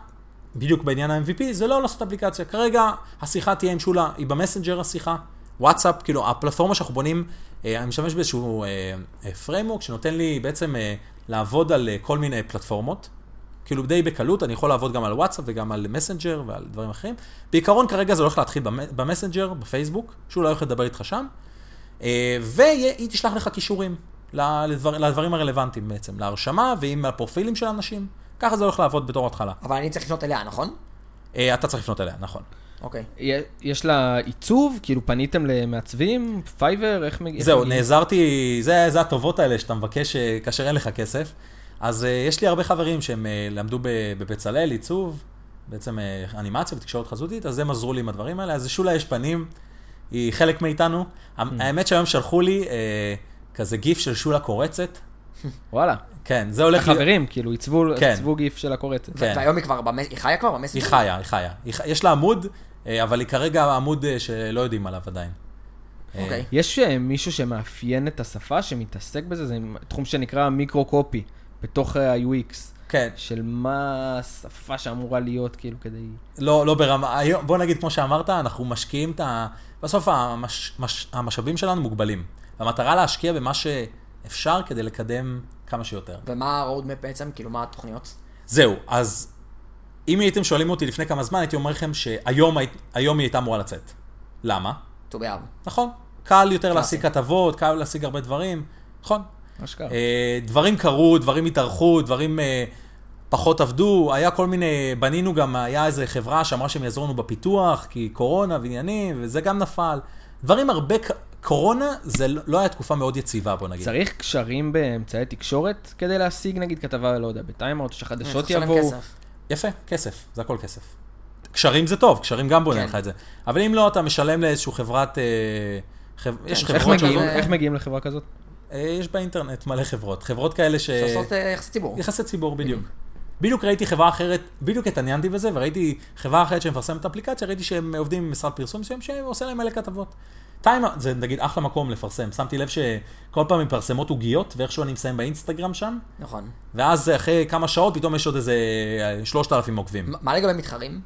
בדיוק בעניין ה-MVP, זה לא לעשות אפליקציה. כרגע השיחה תהיה עם שולה, היא במסנג'ר השיחה, וואטסאפ, כאילו הפלטפורמה שאנחנו בונים, אה, אני משתמש באיזשהו פריימורק שנותן לי בעצם אה, לעבוד על אה, כל מיני פלטפורמות. כאילו די בקלות, אני יכול לעבוד גם על וואטסאפ וגם על מסנג'ר ועל דברים אחרים. בעיקרון כרגע זה הולך להתחיל במ- במסנג'ר, בפייסבוק, שולה הולכת לדבר איתך שם, אה, והיא תשלח לך קישורים ל- לדבר, לדברים הרלוונטיים בעצם, להרשמה ועם הפרופילים של אנשים. ככה זה הולך לעבוד בתור התחלה. אבל אני צריך לפנות אליה, נכון? אה, אתה צריך לפנות אליה, נכון. אוקיי. יה- יש לה עיצוב? כאילו פניתם למעצבים? פייבר? איך מגיע? זהו, איך מגיעים? נעזרתי, זה, זה הטובות האלה שאתה מבקש אה, כאשר אין לך כסף. אז אה, יש לי הרבה חברים שהם אה, למדו ב- בבצלאל עיצוב, בעצם אה, אנימציה ותקשורת חזותית, אז הם עזרו לי עם הדברים האלה. אז שולה יש פנים, היא חלק מאיתנו. ה- האמת שהיום שלחו לי אה, כזה גיף של שולה קורצת. וואלה. כן, זה הולך... להיות- החברים, כאילו, עיצבו כן. עיצבו גיף של הקורצת. כן. והיום היא כבר, במס- היא חיה כבר במסר? היא חיה, היא חיה. היא ח- יש לה עמוד, אה, אבל היא כרגע עמוד אה, שלא יודעים עליו עדיין. אה, אוקיי. יש אה, מישהו שמאפיין את השפה, שמתעסק בזה? זה תחום שנקרא מיקרו-קופי, בתוך אה, ה-UX, כן, של מה השפה שאמורה להיות, כאילו, כדי... לא, לא ברמה, היום, בוא נגיד כמו שאמרת, אנחנו משקיעים את ה... בסוף המש, מש, המשאבים שלנו מוגבלים. והמטרה להשקיע במה שאפשר כדי לקדם כמה שיותר. ומה ה-roadmap בעצם? כאילו, מה התוכניות? זהו, אז אם הייתם שואלים אותי לפני כמה זמן, הייתי אומר לכם שהיום היית- היום היא הייתה אמורה לצאת. למה? ט"ו באב. נכון, קל יותר להשיג כתבות, קל להשיג הרבה דברים, נכון. מה שקרה. אה, דברים קרו, דברים התארחו, דברים אה, פחות עבדו, היה כל מיני, בנינו גם, היה איזה חברה שאמרה שהם יעזרו לנו בפיתוח, כי קורונה ועניינים, וזה גם נפל. דברים הרבה, ק- קורונה זה לא לא היה תקופה מאוד יציבה, בוא נגיד. צריך קשרים באמצעי תקשורת כדי להשיג, נגיד, כתבה, לא יודע, בטיימאוט, צריך שחדשות לשלם יבואו. כסף. יפה, כסף, זה הכל כסף. קשרים זה טוב, קשרים גם בונה כן. לך את זה. אבל אם לא, אתה משלם לאיזשהו חברת... אה, חב... יש כן, איך איך חברות מגיעים- שעושות- שעושות- איך מגיעים לחברה כזאת? אה, יש באינטרנט מלא חברות. חברות כאלה ש... שעושות אה, יחסי ציבור. יחסי ציבור בדיוק. בדיוק ראיתי חברה אחרת, בדיוק התעניינתי בזה, וראיתי חברה אחרת שמפרסמת אפליקציה, ראיתי שהם עובדים עם משרד פרסום מסוים שעושה להם מלא כתבות. טיים, זה נגיד אחלה מקום לפרסם, שמתי לב שכל פעם מפרסמות עוגיות, ואיכשהו אני מסיים באינסטגרם שם, נכון. ואז אחרי כמה שעות פתאום יש עוד איזה אה, 3,000 עוקבים. מה מה לגבי מתחרים?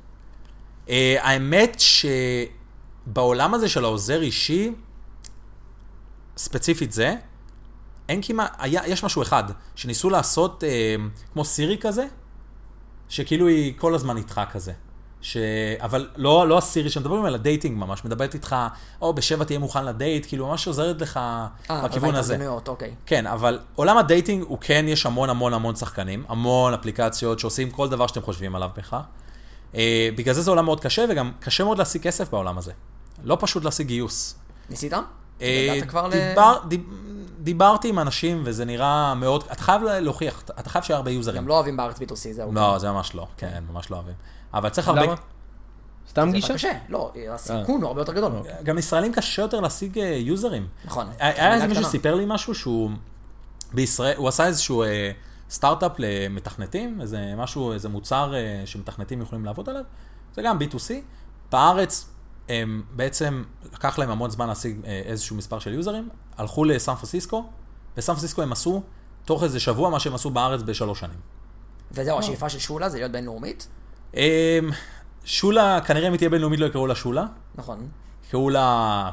אה, האמת שבעולם הזה של העוזר אישי, ספציפית זה, אין כמעט, היה, יש משהו אחד, שניסו לעשות אה, כמו סירי כזה, שכאילו היא כל הזמן איתך כזה. ש... אבל לא, לא הסירי שמדברים, אלא דייטינג ממש, מדברת איתך, או בשבע תהיה מוכן לדייט, כאילו ממש עוזרת לך אה, בכיוון אבל הזה. בהתארגנויות, אוקיי. כן, אבל עולם הדייטינג הוא כן, יש המון המון המון שחקנים, המון אפליקציות שעושים כל דבר שאתם חושבים עליו בכלל. אה, בגלל זה זה עולם מאוד קשה, וגם קשה מאוד להשיג כסף בעולם הזה. לא פשוט להשיג גיוס. ניסית? אה, הגעת כבר ל... דיבר, דיב, דיברתי עם אנשים, וזה נראה מאוד... אתה חייב להוכיח, אתה- אתה חייב שיהיה הרבה יוזרים. גם לא אוהבים בארץ B2C, זהו. לא, זה ממש לא, כן, ממש לא אוהבים. אבל צריך הרבה... למה? סתם זה גישה? קשה, לא, הסיכון הוא הרבה יותר גדול. גם לישראלים קשה יותר להשיג אה, יוזרים. נכון. היה מילה איזה מישהו קטנה. שסיפר לי משהו שהוא בישראל, הוא עשה איזשהו אה, סטארט-אפ למתכנתים, איזה משהו, איזה מוצר אה, שמתכנתים יכולים לעבוד עליו, זה גם B2C. בארץ הם בעצם לקח להם המון זמן להשיג אה, איזשהו מספר של יוזרים, הלכו לסן פרסיסקו, בסן פרסיסקו הם עשו תוך איזה שבוע מה שהם עשו בארץ בשלוש שנים. וזהו, השאיפה של שולה זה להיות בינלאומית, אה, שולה, כנראה אם היא תהיה בינלאומית לא יקראו לה שולה, נכון. קראו לה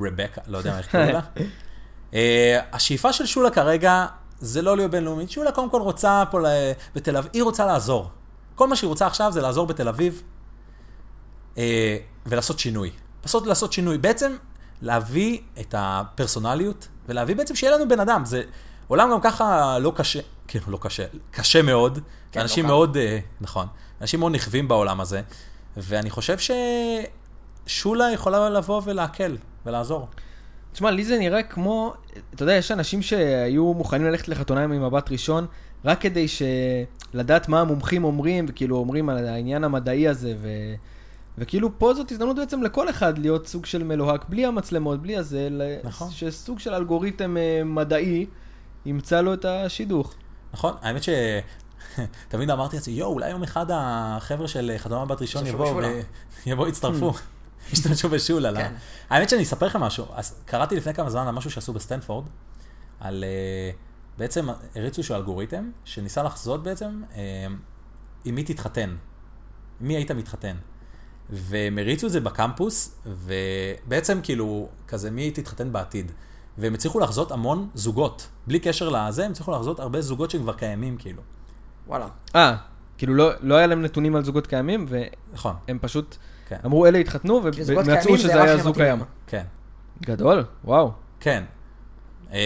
רבקה, לא יודע איך קראו לה. אה, השאיפה של שולה כרגע זה לא להיות בינלאומית. שולה קודם כל רוצה פה ל- בתל אביב, היא רוצה לעזור. כל מה שהיא רוצה עכשיו זה לעזור בתל אביב אה, ולעשות שינוי. פשוט לעשות שינוי. בעצם להביא את הפרסונליות ולהביא בעצם שיהיה לנו בן אדם. זה עולם גם ככה לא קשה, כאילו לא קשה, קשה מאוד. כן, כן, אנשים לא לא מאוד, אה, נכון, אנשים מאוד נכווים בעולם הזה, ואני חושב ששולה יכולה לבוא ולהקל ולעזור. תשמע, לי זה נראה כמו, אתה יודע, יש אנשים שהיו מוכנים ללכת לחתונה עם מבט ראשון, רק כדי ש... לדעת מה המומחים אומרים, וכאילו אומרים על העניין המדעי הזה, ו... וכאילו פה זאת הזדמנות בעצם לכל אחד להיות סוג של מלוהק, בלי המצלמות, בלי הזה, ל- נכון. שסוג של אלגוריתם אה, מדעי ימצא לו את השידוך. נכון? האמת ש... תמיד אמרתי לעצמי, יואו, אולי יום אחד החבר'ה של חתומה בת ראשון ישתמשו יבואו בשולה." ו... יבואו, יצטרפו, ישתמשו בשולה. לא? כן. האמת שאני אספר לכם משהו, אז קראתי לפני כמה זמן על משהו שעשו בסטנפורד, על... אה, בעצם הריצו איזשהו אלגוריתם, שניסה לחזות בעצם אה, עם מי תתחתן, מי היית מתחתן. והם הריצו את זה בקמפוס, ובעצם כאילו, כזה מי תתחתן בעתיד. והם הצליחו לחזות המון זוגות, בלי קשר לזה, הם הצליחו לחזות הרבה זוגות שהם כבר קיימים, כאילו. וואלה. אה, כאילו לא, לא היה להם נתונים על זוגות קיימים, והם נכון, פשוט כן. אמרו אלה התחתנו, כי זוגות ומצאו קיימים זה שזה רק היה שהם זוג מתאימים. קיים. כן, גדול, וואו. כן. אמ,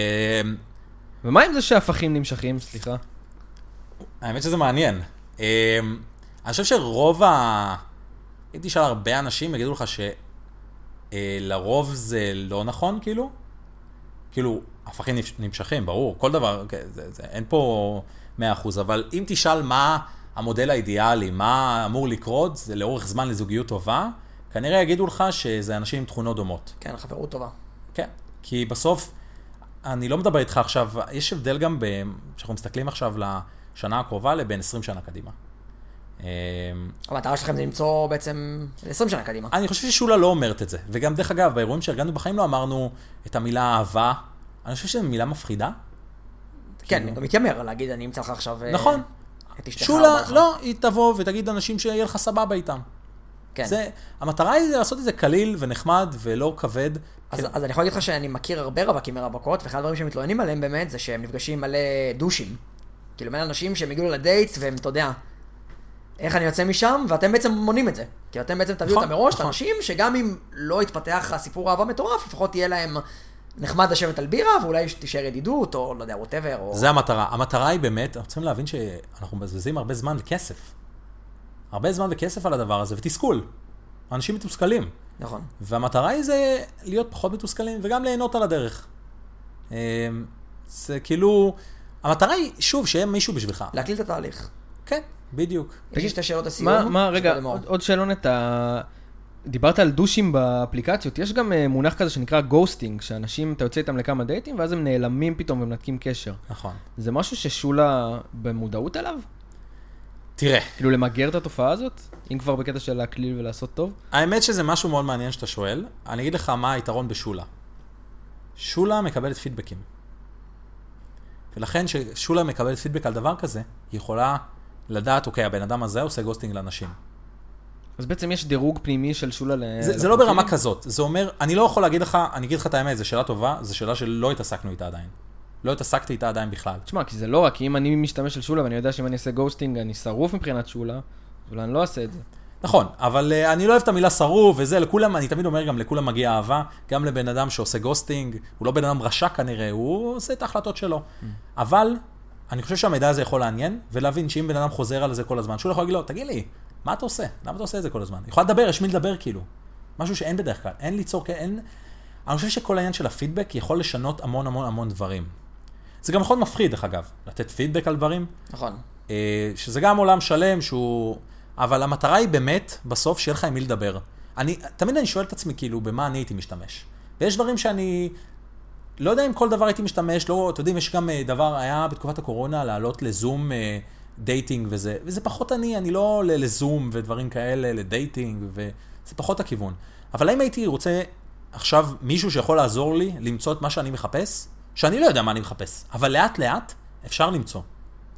ומה עם זה שהפכים נמשכים, סליחה? האמת שזה מעניין. אמ, אני חושב שרוב ה... אם תשאל הרבה אנשים, יגידו לך שלרוב זה לא נכון, כאילו. כאילו, הפכים נפש- נמשכים, ברור, כל דבר, כן, זה, זה, אין פה 100%, אבל אם תשאל מה המודל האידיאלי, מה אמור לקרות זה לאורך זמן לזוגיות טובה, כנראה יגידו לך שזה אנשים עם תכונות דומות. כן, חברות טובה. כן, כי בסוף, אני לא מדבר איתך עכשיו, יש הבדל גם ב... כשאנחנו מסתכלים עכשיו לשנה הקרובה לבין 20 שנה קדימה. אמ, המטרה שלכם זה למצוא בעצם 20 שנה קדימה. אני חושב ששולה לא אומרת את זה. וגם, דרך אגב, באירועים שארגנו בחיים לא אמרנו את המילה אהבה. אני חושב שזו מילה מפחידה. כן, אני גם מתיימר להגיד, אני אמצא לך עכשיו... אה, נכון. את אשתך. שולה, ארבע לך. לא, היא תבוא ותגיד לאנשים שיהיה לך סבבה איתם. כן. זה, המטרה היא לעשות את זה קליל ונחמד ולא כבד. כן. אז, אז אני יכול להגיד לך שאני מכיר הרבה רווקים מרווקות, ואחד הדברים שמתלוננים עליהם באמת זה שהם נפגשים מלא דושים. כאילו, מלא אנשים שהם הגיעו לדייט והם, אתה יודע, איך אני יוצא משם, ואתם בעצם מונעים את זה. כי אתם בעצם תביאו נכון, אותם מראש נכון. לאנשים שגם אם לא יתפתח הסיפור אהבה מטורף, לפחות יהיה להם נחמד לשבת על בירה, ואולי תישאר ידידות, או לא יודע, ווטאבר, או... זה המטרה. המטרה היא באמת, אנחנו צריכים להבין שאנחנו מבזבזים הרבה זמן וכסף. הרבה זמן וכסף על הדבר הזה, ותסכול. אנשים מתוסכלים. נכון. והמטרה היא זה להיות פחות מתוסכלים וגם ליהנות על הדרך. אמ, זה כאילו, המטרה היא, שוב, שיהיה מישהו בשבילך. להקליט את התהליך. כן, בדיוק. יש לי שתי שאלות לסיום. מה, מה, של רגע, לימור. עוד, עוד שאלונת, ה... דיברת על דושים באפליקציות, יש גם אה, מונח כזה שנקרא גוסטינג, שאנשים, אתה יוצא איתם לכמה דייטים, ואז הם נעלמים פתאום ומנתקים קשר. נכון. זה משהו ששולה במודעות אליו? תראה, כאילו למגר את התופעה הזאת? אם כבר בקטע של להקליל ולעשות טוב? האמת שזה משהו מאוד מעניין שאתה שואל. אני אגיד לך מה היתרון בשולה. שולה מקבלת פידבקים. ולכן כששולה מקבלת פידבק על דבר כזה, היא יכולה לדעת, אוקיי, הבן אדם הזה עושה גוסטינג לאנשים. אז בעצם יש דירוג פנימי של שולה ל... זה, זה לא ברמה כזאת, זה אומר, אני לא יכול להגיד לך, אני אגיד לך את האמת, זו שאלה טובה, זו שאלה שלא התעסקנו איתה עדיין. לא התעסקתי איתה עדיין בכלל. תשמע, כי זה לא רק, כי אם אני משתמש של שולה ואני יודע שאם אני אעשה גוסטינג אני שרוף מבחינת שולה, אבל אני לא אעשה את זה. נכון, אבל uh, אני לא אוהב את המילה שרוף וזה, לכולם, אני תמיד אומר גם, לכולם מגיע אהבה, גם לבן אדם שעושה גוסטינג, הוא לא בן אדם רשע כנראה, הוא עושה את ההחלטות שלו. אבל, אני חושב שהמידע הזה יכול לעניין, ולהבין שאם בן אדם חוזר על זה כל הזמן, שהוא לא יכול להגיד לו, תגיד לי, מה אתה עושה? למה אתה עושה את זה כל הזמן? היא יכולה לדבר, יש מי לדבר כאילו. משהו שאין בדרך כלל, אין ליצור, כן, אין... אני חושב שכל העניין של הפידבק יכול לשנות המון המון המון דברים. זה גם יכול להיות מפחיד, דרך אגב, לתת פידבק על דברים, נכון. אה, שזה גם עולם שלם שהוא... אבל המטרה היא באמת, בסוף, שיהיה לך עם מי לדבר. אני, תמיד אני שואל את עצמי, כאילו, במה אני הייתי משתמש. ויש דברים שאני... לא יודע אם כל דבר הייתי משתמש, לא, אתם יודעים, יש גם אה, דבר, היה בתקופת הקורונה לעלות לזום אה, דייטינג וזה, וזה פחות אני, אני לא עולה לזום ודברים כאלה, לדייטינג, וזה פחות הכיוון. אבל האם הייתי רוצה עכשיו מישהו שיכול לעזור לי למצוא את מה שאני מחפש? שאני לא יודע מה אני מחפש, אבל לאט לאט אפשר למצוא.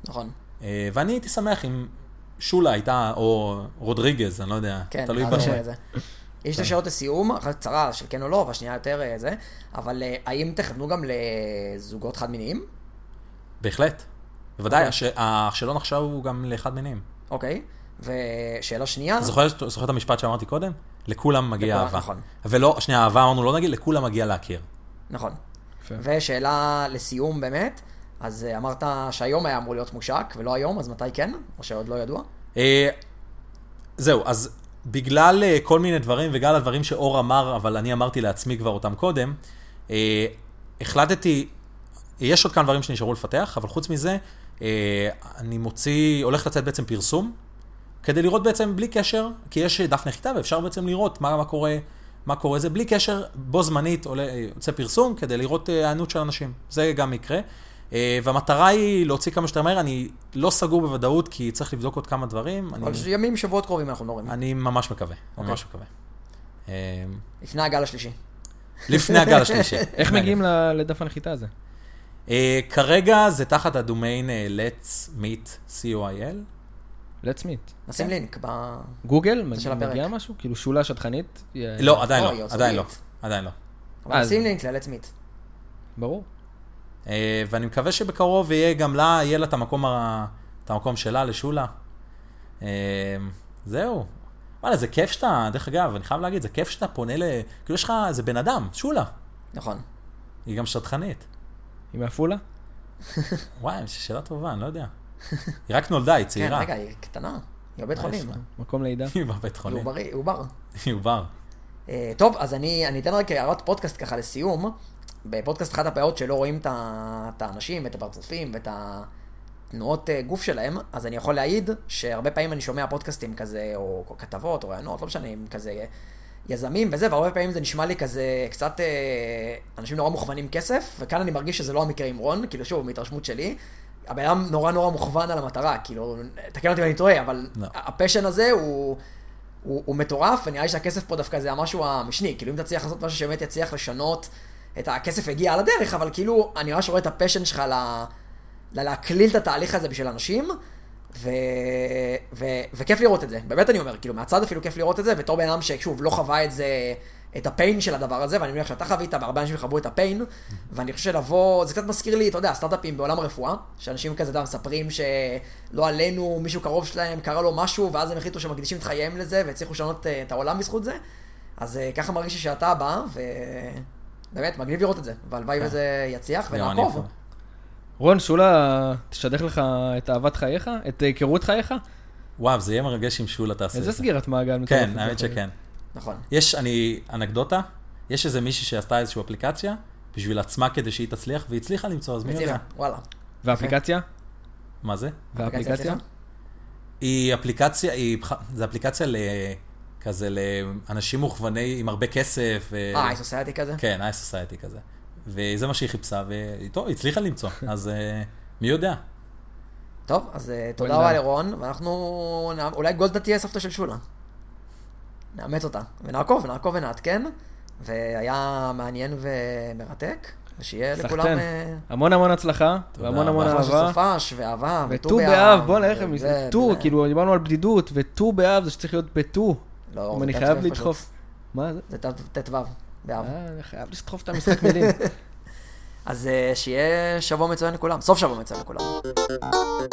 נכון. אה, ואני הייתי שמח אם שולה הייתה, או רודריגז, אני לא יודע, כן, תלוי כן. אז בנו. נשאיר את זה. יש שתי שאלות לסיום, אחת קצרה של כן או לא, והשנייה יותר אה, זה, אבל אה, האם תכוונו גם לזוגות חד מיניים? בהחלט. בוודאי, הש- השאלון עכשיו הוא גם לאחד מינים. אוקיי. ושאלה שנייה, זוכר זוכר את המשפט שאמרתי קודם? לכולם מגיע לכולם, אהבה. נכון. ולא, שנייה, אהבה אמרנו לא נגיד, לכולם מגיע להכיר. נכון. כן. יפה. ושאלה לסיום באמת, אז אה, אמרת שהיום היה אמור להיות מושק, ולא היום, אז מתי כן? או שעוד לא ידוע? אה, זהו, אז בגלל אה, כל מיני דברים וגם הדברים שאור אמר, אבל אני אמרתי לעצמי כבר אותם קודם, אה, החלטתי, יש עוד כמה דברים שנשארו לפתח, אבל חוץ מזה, אה, אני מוציא, הולך לצאת בעצם פרסום, כדי לראות בעצם בלי קשר, כי יש אה, דף נחיתה ואפשר בעצם לראות מה, מה קורה. מה קורה זה בלי קשר, בו זמנית עולה, אה, יוצא פרסום כדי לראות אה, היענות של אנשים, זה גם יקרה. אה, והמטרה היא להוציא כמה שיותר מהר, אני לא סגור בוודאות כי צריך לבדוק עוד כמה דברים, אני, אבל ימים, שבועות קרובים אנחנו נורים. אני ממש מקווה, ממש מקווה. אה, לפני הגל השלישי. לפני הגל השלישי. איך מגיעים ל- לדף הנחיתה הזה? אה, כרגע זה תחת הדומיין אה, let's meet co.il. let's meet. כן. נשים לינק ב... גוגל? של מג- הפרק. מגיע משהו? כאילו שולה שטחנית? אה, לא, עדיין אוי, לא, עוד עדיין לא, סודית. עדיין לא. אבל אז- נשים לינק ללץ מיט. ברור. אה, ואני מקווה שבקרוב יהיה גם לה, יהיה לה את המקום, ה... את המקום שלה, לשולה. אה, זהו. וואלה, זה כיף שאתה, דרך אגב, אני חייב להגיד, זה כיף שאתה פונה ל... כאילו יש לך, זה בן אדם, שולה. נכון. היא גם שטחנית. היא מעפולה? וואי, שאלה טובה, אני לא יודע. היא רק נולדה, היא כן, צעירה. רגע, היא קטנה. היא בבית חולים. מקום לידה? היא בבית היא חולים. עובר- היא עובר. היא עובר. אה, טוב, אז אני, אני אתן רק הערת פודקאסט ככה לסיום. בפודקאסט אחת הבעיות שלא רואים את ה- את האנשים, את הפרצופים ואת התנועות אה, גוף שלהם, אז אני יכול להעיד שהרבה פעמים אני שומע פודקאסטים כזה, או כתבות, או רעיונות, לא משנה, עם כזה יזמים וזה, והרבה פעמים זה נשמע לי כזה קצת אה, אנשים נורא מוכוונים כסף, וכאן אני מרגיש שזה לא המקרה עם רון, כאילו שוב, מהתרשמות שלי. הבן אדם נורא נורא מוכוון על המטרה, כאילו, תקן אותי אם אני טועה, אבל לא. הפשן הזה הוא, הוא, הוא מטורף, ונראה לי שהכסף פה דווקא זה המשהו המשני, כאילו אם תצליח לעשות משהו שבאמת יצליח לשנות, את הכסף הגיע על הדרך, אבל כאילו, אני ממש רואה את הפשן שלך ל... ל- להקליל את התהליך הזה בשביל אנשים, ו... ו... וכיף לראות את זה. באמת אני אומר, כאילו, מהצד אפילו כיף לראות את זה, בתור בן אדם ששוב, לא חווה את זה, את הפיין של הדבר הזה, ואני מניח שאתה חווית, והרבה אנשים חוו את הפיין, ואני חושב שלבוא, זה קצת מזכיר לי, אתה יודע, סטארט-אפים בעולם הרפואה, שאנשים כזה, אתה יודע, מספרים שלא עלינו, מישהו קרוב שלהם, קרה לו משהו, ואז הם החליטו שמקדישים את חייהם לזה, והצליחו לשנות אה, את העולם בזכות זה. אז אה, ככה מרגיש לי שאתה בא, ובאמת, מגניב לראות את זה, והלוואי כן. וזה יצליח, גם אני ונעקוב. יכול. רון, שולה תשדך לך את אהבת חייך? את אה, היכרות חייך? וואו, זה יהיה מרגש אם שולה תעשה את איזה זה. סגירת מעגל מטורפת. כן, האמת זה יכול שכן. נכון. יש, אני, אנקדוטה, יש איזה מישהי שעשתה איזושהי אפליקציה בשביל עצמה כדי שהיא תצליח, והיא הצליחה למצוא, אז מי יודע. הצליחה, וואלה. להיות. והאפליקציה? מה זה? והאפליקציה? הצליחה? היא אפליקציה, היא, בח- זה אפליקציה ל... כזה לאנשים מוכווני עם הרבה כסף. ו- אה, היא סוסייטי כזה? כן, איי סוסייטי כזה. וזה מה שהיא חיפשה, ואיתו, היא הצליחה למצוא, אז אה, מי יודע. טוב, אז אה, תודה בן רבה אדם. לרון, ואנחנו... נע- אולי גולדה תהיה סבתא של שולה. נאמץ אותה, ונעקוב, נעקוב ונעדכן, והיה מעניין ומרתק, ושיהיה לכולם... סחטן. אה, המון המון הצלחה, תודה והמון המון רבה. אחלה של אהבה. סופש, ואהבה, וט"ו באב, בוא'נה, איך הם... וזה, ט"ו, ו- כאילו, דיברנו על בדידות, וט"ו באב זה שצריך להיות בט"ו. לא, אם זה אני ט"ו חייב פשוט. לדחוף. מה זה? זה ט- ט"ו באב. אה, אני חייב לסחוף את המשחק מילים. אז אה, שיהיה שבוע מצוין לכולם, סוף שבוע מצוין לכולם.